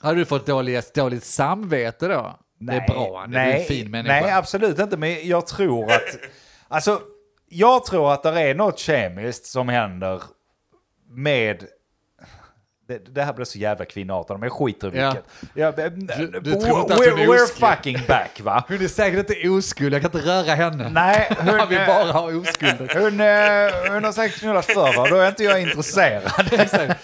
Speaker 1: Har du fått dåligt, dåligt samvete då? det är bra, det är en fin människa.
Speaker 2: Nej, absolut inte. Men jag tror att... [LAUGHS] alltså, jag tror att det är något kemiskt som händer med... Det, det här blir så jävla kvinnoartat, men jag skiter i
Speaker 1: Ja.
Speaker 2: vilket. Ja.
Speaker 1: Du- du tror inte att
Speaker 2: we're,
Speaker 1: hon är
Speaker 2: we're
Speaker 1: oskuld.
Speaker 2: fucking back, va?
Speaker 1: Hon är säkert inte oskuld, jag kan inte röra henne. [LAUGHS]
Speaker 2: Nej, hon, eh,
Speaker 1: Han vill bara ha oskulden.
Speaker 2: hon, eh, hon har säkert knullat förr, va? Då är inte jag intresserad. [LAUGHS]
Speaker 1: Exakt.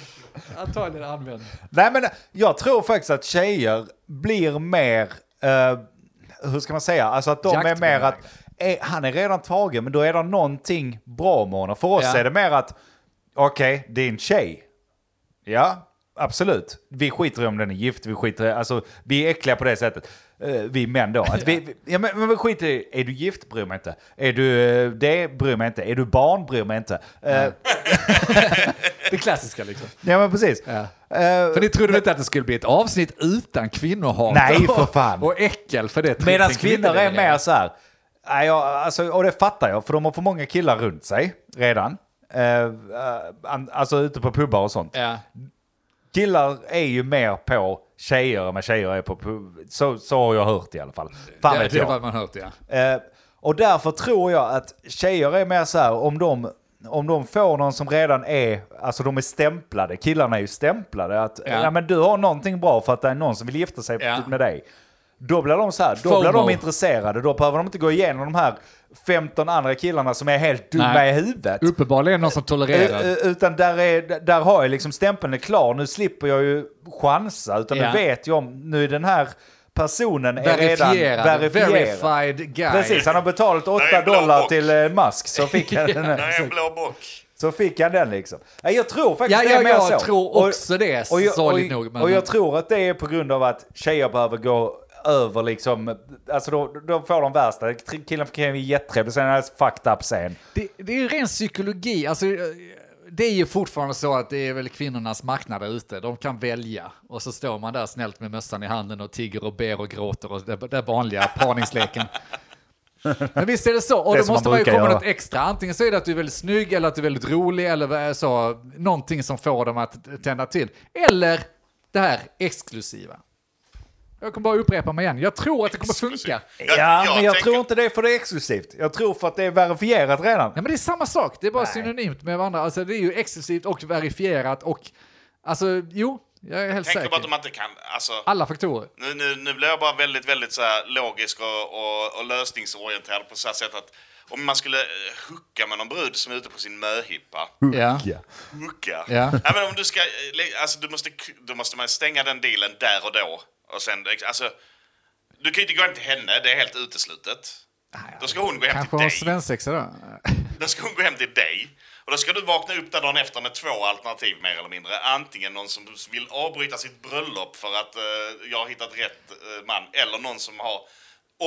Speaker 1: Antagligen använd.
Speaker 2: Nej men jag tror faktiskt att tjejer blir mer, eh, hur ska man säga, alltså att de är
Speaker 1: Jaktbenägna.
Speaker 2: mer att, eh, han är redan tagen men då är det någonting bra med honom. För oss
Speaker 1: Ja.
Speaker 2: är det mer att, okej, det är en tjej. Ja, absolut. Vi skiter i om den är gift, vi skiter i, alltså vi är äckliga på det sättet. Eh, vi män då.
Speaker 1: [LAUGHS]
Speaker 2: Att vi, vi- ja, men, men vi skiter i, är du gift bryr mig inte. Är du eh, det bryr mig inte. Är du barn bryr mig inte. Eh,
Speaker 1: Det klassiska liksom.
Speaker 2: Ja men precis.
Speaker 1: Ja.
Speaker 2: Eh,
Speaker 1: För ni trodde väl inte att det skulle bli ett avsnitt utan kvinnohat?
Speaker 2: Nej, för fan.
Speaker 1: Och äckel för det. typ
Speaker 2: Medan
Speaker 1: Tänk
Speaker 2: kvinnor är
Speaker 1: kvinnodelegering.
Speaker 2: mer så här, nej, jag, alltså, och det fattar jag, för de har för många killar runt sig redan. Eh, eh, an- alltså ute på pubbar och sånt.
Speaker 1: Ja.
Speaker 2: Killar är ju mer på tjejer än vad tjejer är på pub. Så, så har jag hört i alla fall. Fan
Speaker 1: Ja,
Speaker 2: vet
Speaker 1: det är
Speaker 2: jag.
Speaker 1: vad man hört ja.
Speaker 2: Eh, och därför tror jag att tjejer är mer så här, om de, om de får någon som redan är, alltså de är stämplade, killarna är ju stämplade, att
Speaker 1: Ja.
Speaker 2: ja. men du har någonting bra för att det är någon som vill gifta sig
Speaker 1: Ja.
Speaker 2: med dig. Då blir de så här, då blir
Speaker 1: FOMO.
Speaker 2: de intresserade, då behöver de inte gå igenom de här 15 andra killarna som är helt dumma
Speaker 1: Nej.
Speaker 2: i huvudet.
Speaker 1: Uppenbarligen någon som tolererar.
Speaker 2: Eh, eh, Utan där, är, där har jag liksom stämpeln är klar, nu slipper jag ju chansa, utan
Speaker 1: Ja.
Speaker 2: nu vet jag om, nu är den här personen är eh, redan
Speaker 1: verifierad.
Speaker 2: verifierad.
Speaker 1: Verified guy.
Speaker 2: Precis, han har betalat 8
Speaker 3: en blå
Speaker 2: dollar
Speaker 3: bock.
Speaker 2: till eh, Musk så fick han den. eh,
Speaker 3: Nej, en blå bock.
Speaker 2: Så fick han den liksom. Nej, Jag tror faktiskt
Speaker 1: Ja,
Speaker 2: det är
Speaker 1: ja,
Speaker 2: mer
Speaker 1: jag
Speaker 2: så.
Speaker 1: tror också det,
Speaker 2: och jag,
Speaker 1: sorgligt
Speaker 2: och,
Speaker 1: nog. Men,
Speaker 2: och jag tror att det är på grund av att tjejer behöver gå över liksom, alltså då, då får de värsta. Killen kan ju jättetrevlig, sen är han fucked up sen.
Speaker 1: det, det är ju ren psykologi. Alltså, eh, det är ju fortfarande så att det är väl kvinnornas marknad där ute. De kan välja. Och så står man där snällt med mössan i handen och tigger och ber och gråter. Och det, det är vanliga parningsleken. Men visst är det så. Och
Speaker 2: Det
Speaker 1: då
Speaker 2: som
Speaker 1: måste
Speaker 2: man
Speaker 1: man ju
Speaker 2: brukar
Speaker 1: komma
Speaker 2: göra.
Speaker 1: något extra. Antingen så är det att du är väldigt snygg eller att du är väldigt rolig eller vad är så. Någonting som får dem att tända till. Eller det här exklusiva. Jag kommer bara upprepa mig igen. Jag tror att det kommer funka.
Speaker 2: Ja, men jag tror inte det är för det är exklusivt. Jag tror för att det är verifierat redan.
Speaker 1: Ja, men det är samma sak. Det är bara synonymt med varandra. Alltså, det är ju exklusivt och verifierat och... Alltså, jo, jag är helt
Speaker 3: Tänk
Speaker 1: säker.
Speaker 3: bara att man inte kan... Alltså,
Speaker 1: Alla faktorer.
Speaker 3: nu, nu, nu blir jag bara väldigt, väldigt så här logisk och, och, och lösningsorienterad på så här sätt att om man skulle eh, hooka med någon brud som är ute på sin möhippa.
Speaker 1: Ja.
Speaker 2: Ja.
Speaker 3: Hooka?
Speaker 1: Ja.
Speaker 3: Nej, men om du ska... eh, le- Alltså, du måste, k- då måste man stänga den dealen där och då. Och sen, alltså, du kan ju inte gå hem till henne, det är helt uteslutet. Då ska hon gå hem
Speaker 1: Ah, Kanske
Speaker 3: till
Speaker 1: har en
Speaker 3: dig.
Speaker 1: svensexa då?
Speaker 3: Då ska hon gå hem till dig. Och då ska du vakna upp där dagen efter med två alternativ mer eller mindre. Antingen någon som vill avbryta sitt bröllop för att eh, jag har hittat rätt eh, man. Eller någon som har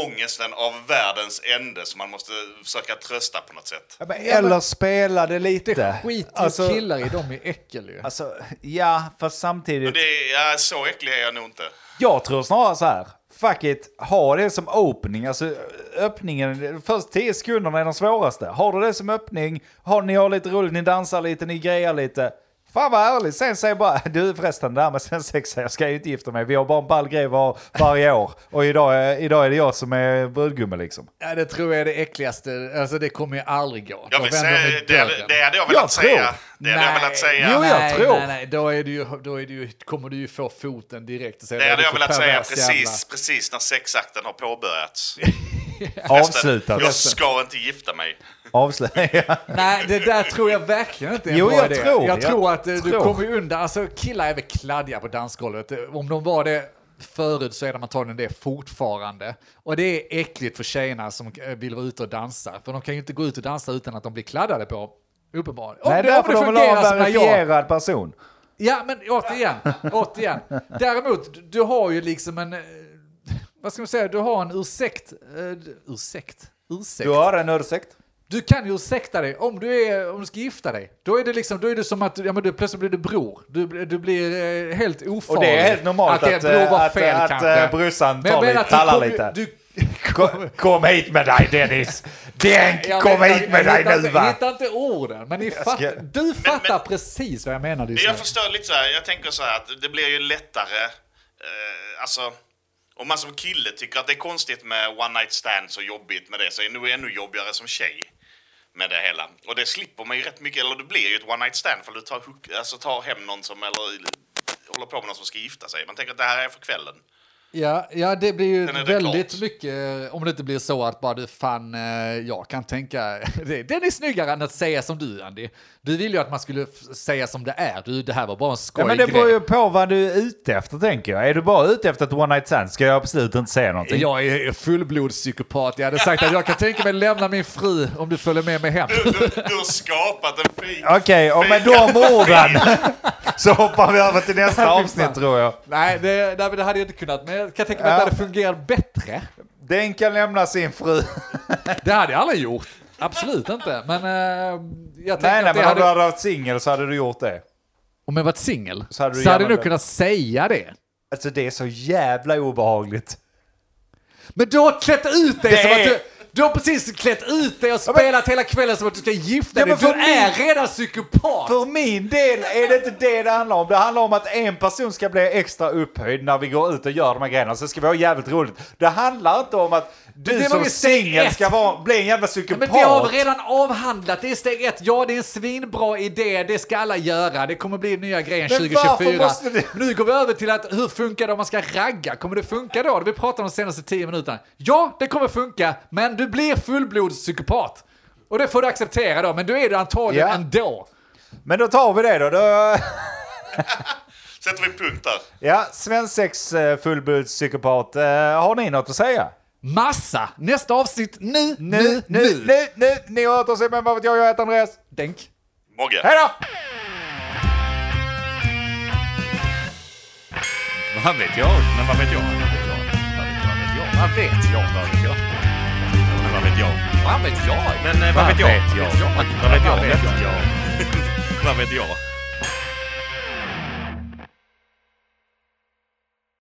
Speaker 3: ångesten av världens ände som man måste försöka trösta på något sätt.
Speaker 2: Ja, men Eller spela det lite.
Speaker 1: Det skiter ju
Speaker 2: Alltså-
Speaker 1: killar i, de är äckel ju.
Speaker 2: Alltså, ja, fast samtidigt.
Speaker 3: Men det är, ja, så äcklig är jag nog inte.
Speaker 2: Jag tror snarare så här. Fuck it, ha det som opening. Alltså öppningen, de första 10 sekunderna är de svåraste. Har du det som öppning, har, ni har lite roligt, ni dansar lite, ni grejar lite. Fan vad härligt, sen säger bara, [LAUGHS] du förresten det här med svensexa, jag ska ju inte gifta mig, vi har bara en ball grej var, varje år. Och idag, är- idag är det jag som är
Speaker 1: [LAUGHS]
Speaker 2: brudgummen liksom.
Speaker 1: Ja, det tror jag är det äckligaste. Alltså, det kommer ju aldrig gå.
Speaker 3: Jag
Speaker 1: Då
Speaker 3: vill
Speaker 1: vänder de
Speaker 3: säga,
Speaker 1: i
Speaker 3: det,
Speaker 1: dörren.
Speaker 3: det hade jag velat
Speaker 2: tror.
Speaker 3: säga. Det hade jag velat säga.
Speaker 2: Jo, jag
Speaker 1: nej,
Speaker 2: tror.
Speaker 1: Nej, nej, då, är det ju, då är det ju, kommer du ju få foten direkt och säga
Speaker 3: Det hade
Speaker 1: "Vad är
Speaker 3: jag
Speaker 1: för
Speaker 3: velat säga
Speaker 1: pervers jävla-"
Speaker 3: precis, precis när sexakten
Speaker 1: [LAUGHS]
Speaker 3: har påbörjats.
Speaker 2: Avslutat.
Speaker 3: Jag ska inte gifta mig.
Speaker 2: [LAUGHS] Avslutat.
Speaker 1: Nej, det där tror jag verkligen inte är en
Speaker 2: Jo,
Speaker 1: bra
Speaker 2: jag
Speaker 1: idé.
Speaker 2: tror,
Speaker 1: jag
Speaker 2: jag
Speaker 1: tror att eh, du
Speaker 2: tror.
Speaker 1: kommer ju undan. Alltså, killar är väl kladdiga på dansgolvet. Eh, Om de var det förut så är de antagligen det fortfarande. Och det är äckligt för tjejerna som eh, vill vara ute och dansa. För de kan ju inte gå ut och dansa utan att de blir kladdade på. Uppenbarligen. Om
Speaker 2: Nej,
Speaker 1: det, om
Speaker 2: därför
Speaker 1: det
Speaker 2: de vill ha
Speaker 1: fungerar
Speaker 2: en
Speaker 1: som när jag...
Speaker 2: verifierad person.
Speaker 1: Ja, men återigen, återigen. Däremot, du har ju liksom en, eh, vad ska man säga, du har en ursäkt, eh, ursäkt, ursäkt.
Speaker 2: Du har en ursäkt.
Speaker 1: Du kan ju ursäkta dig om du, är, om du ska gifta dig. Då är det liksom, då är det som att, ja men du, plötsligt blir du bror. Du, bl- du blir eh, helt ofarlig.
Speaker 2: Och det är helt normalt
Speaker 1: att,
Speaker 2: att,
Speaker 1: att bror var
Speaker 2: att,
Speaker 1: fel
Speaker 2: att,
Speaker 1: kanske.
Speaker 2: eh, brorsan
Speaker 1: Men jag
Speaker 2: tar
Speaker 1: menar
Speaker 2: lite,
Speaker 1: att du
Speaker 2: tallar
Speaker 1: kommer-
Speaker 2: lite.
Speaker 1: Du,
Speaker 2: Kom, kom hit med dig Dennis! Denk,
Speaker 1: jag
Speaker 2: kom
Speaker 1: menar,
Speaker 2: hit med
Speaker 1: jag
Speaker 2: dig
Speaker 1: hittar
Speaker 2: nu
Speaker 1: inte-
Speaker 2: va!
Speaker 1: hittar inte orden, men ni
Speaker 2: ska-
Speaker 1: fattar, du fattar precis vad jag menar. Lyssnare.
Speaker 3: Jag förstår lite så här, jag tänker så här att det blir ju lättare, eh, alltså om man som kille tycker att det är konstigt med one night stands och jobbigt med det så är det nog ännu jobbigare som tjej med det hela. Och det slipper man ju rätt mycket, eller det blir ju ett one night stand för du tar, hook- alltså, tar hem någon som, eller håller på med någon som ska gifta sig. Man tänker att det här är för kvällen.
Speaker 1: Ja, ja, det blir ju
Speaker 3: Sen är det
Speaker 1: väldigt
Speaker 3: klart.
Speaker 1: mycket, eh, om det inte blir så att bara du fan, eh, jag kan tänka, [LAUGHS] det- den är snyggare än att säga som du Andy. Du vill ju att man skulle f- säga som det är, du det här var bara en
Speaker 2: Ja,
Speaker 1: skojgrej.
Speaker 2: men det beror ju på vad du är ute efter tänker jag. Är du bara ute efter ett one night stand ska jag absolut inte säga någonting.
Speaker 1: Jag är fullblodspsykopat, jag hade sagt att jag kan tänka mig lämna min fru om du följer med mig hem.
Speaker 3: Du, du, du har skapat en fin...
Speaker 2: Okej, och med de orden så hoppar vi över till nästa
Speaker 1: fan.
Speaker 2: avsnitt tror jag.
Speaker 1: Nej, det, nej, men det hade jag inte kunnat, men jag kan tänka mig
Speaker 2: Ja.
Speaker 1: att det hade fungerat bättre.
Speaker 2: Den kan lämna sin fru.
Speaker 1: Det hade jag aldrig gjort, absolut inte. Men eh, jag tänker
Speaker 2: Nej, nej,
Speaker 1: att det
Speaker 2: men om
Speaker 1: hade...
Speaker 2: du hade varit singel så hade du gjort det.
Speaker 1: Om jag varit singel så
Speaker 2: Så hade
Speaker 1: hade,
Speaker 2: du
Speaker 1: jag
Speaker 2: gärna
Speaker 1: nog
Speaker 2: det.
Speaker 1: kunnat säga det.
Speaker 2: Alltså det är så jävla obehagligt.
Speaker 1: Men du har klätt ut dig
Speaker 2: Det
Speaker 1: som att
Speaker 2: är-
Speaker 1: du... Du har precis klätt ut dig och spelat hela kvällen som att du ska gifta
Speaker 2: Ja,
Speaker 1: dig.
Speaker 2: men
Speaker 1: Du
Speaker 2: för min-
Speaker 1: är redan psykopat!
Speaker 2: För min del är det inte det det handlar om. Det handlar om att en person ska bli extra upphöjd när vi går ut och gör de här grejerna. Så ska vi ha jävligt roligt. Det handlar inte om att
Speaker 1: Det
Speaker 2: du
Speaker 1: var
Speaker 2: som
Speaker 1: ju steg
Speaker 2: singel
Speaker 1: ett.
Speaker 2: ska vara, bli en jävla
Speaker 1: Ja,
Speaker 2: psykopat.
Speaker 1: Men det har vi redan avhandlat. Det är steg ett. Ja, det är en svinbra idé. Det ska alla göra. Det kommer bli nya grejen
Speaker 2: Men
Speaker 1: 2024.
Speaker 2: varför måste det-
Speaker 1: Nu går vi över till att hur funkar det om man ska ragga? Kommer det funka då? Det vi pratat om de senaste tio minuterna. Ja, det kommer funka, men du blir fullblodspsykopat. Och det får du acceptera då, men du är det antagligen
Speaker 2: Ja.
Speaker 1: ändå.
Speaker 2: Men då tar vi det då. då
Speaker 3: Sätter vi punkt där.
Speaker 2: ja, svensex eh, fullblodspsykopat. Eh, Har ni något att säga?
Speaker 1: Massa! Nästa avsnitt nu, nu, nu.
Speaker 2: nu, nu, nu. Ni har hört oss, men vad vet jag? Jag heter Andreas.
Speaker 1: Denk.
Speaker 3: Mogge.
Speaker 2: Hej då!
Speaker 3: Vad vet jag? Men vad vet jag? Vad vet jag? Vad vet jag? Vad vet jag? Vad vet jag? Men vad vet jag? Vad vet jag? Men eh, vad vet jag? Vad vet jag? Vad vet jag? Vad vet jag?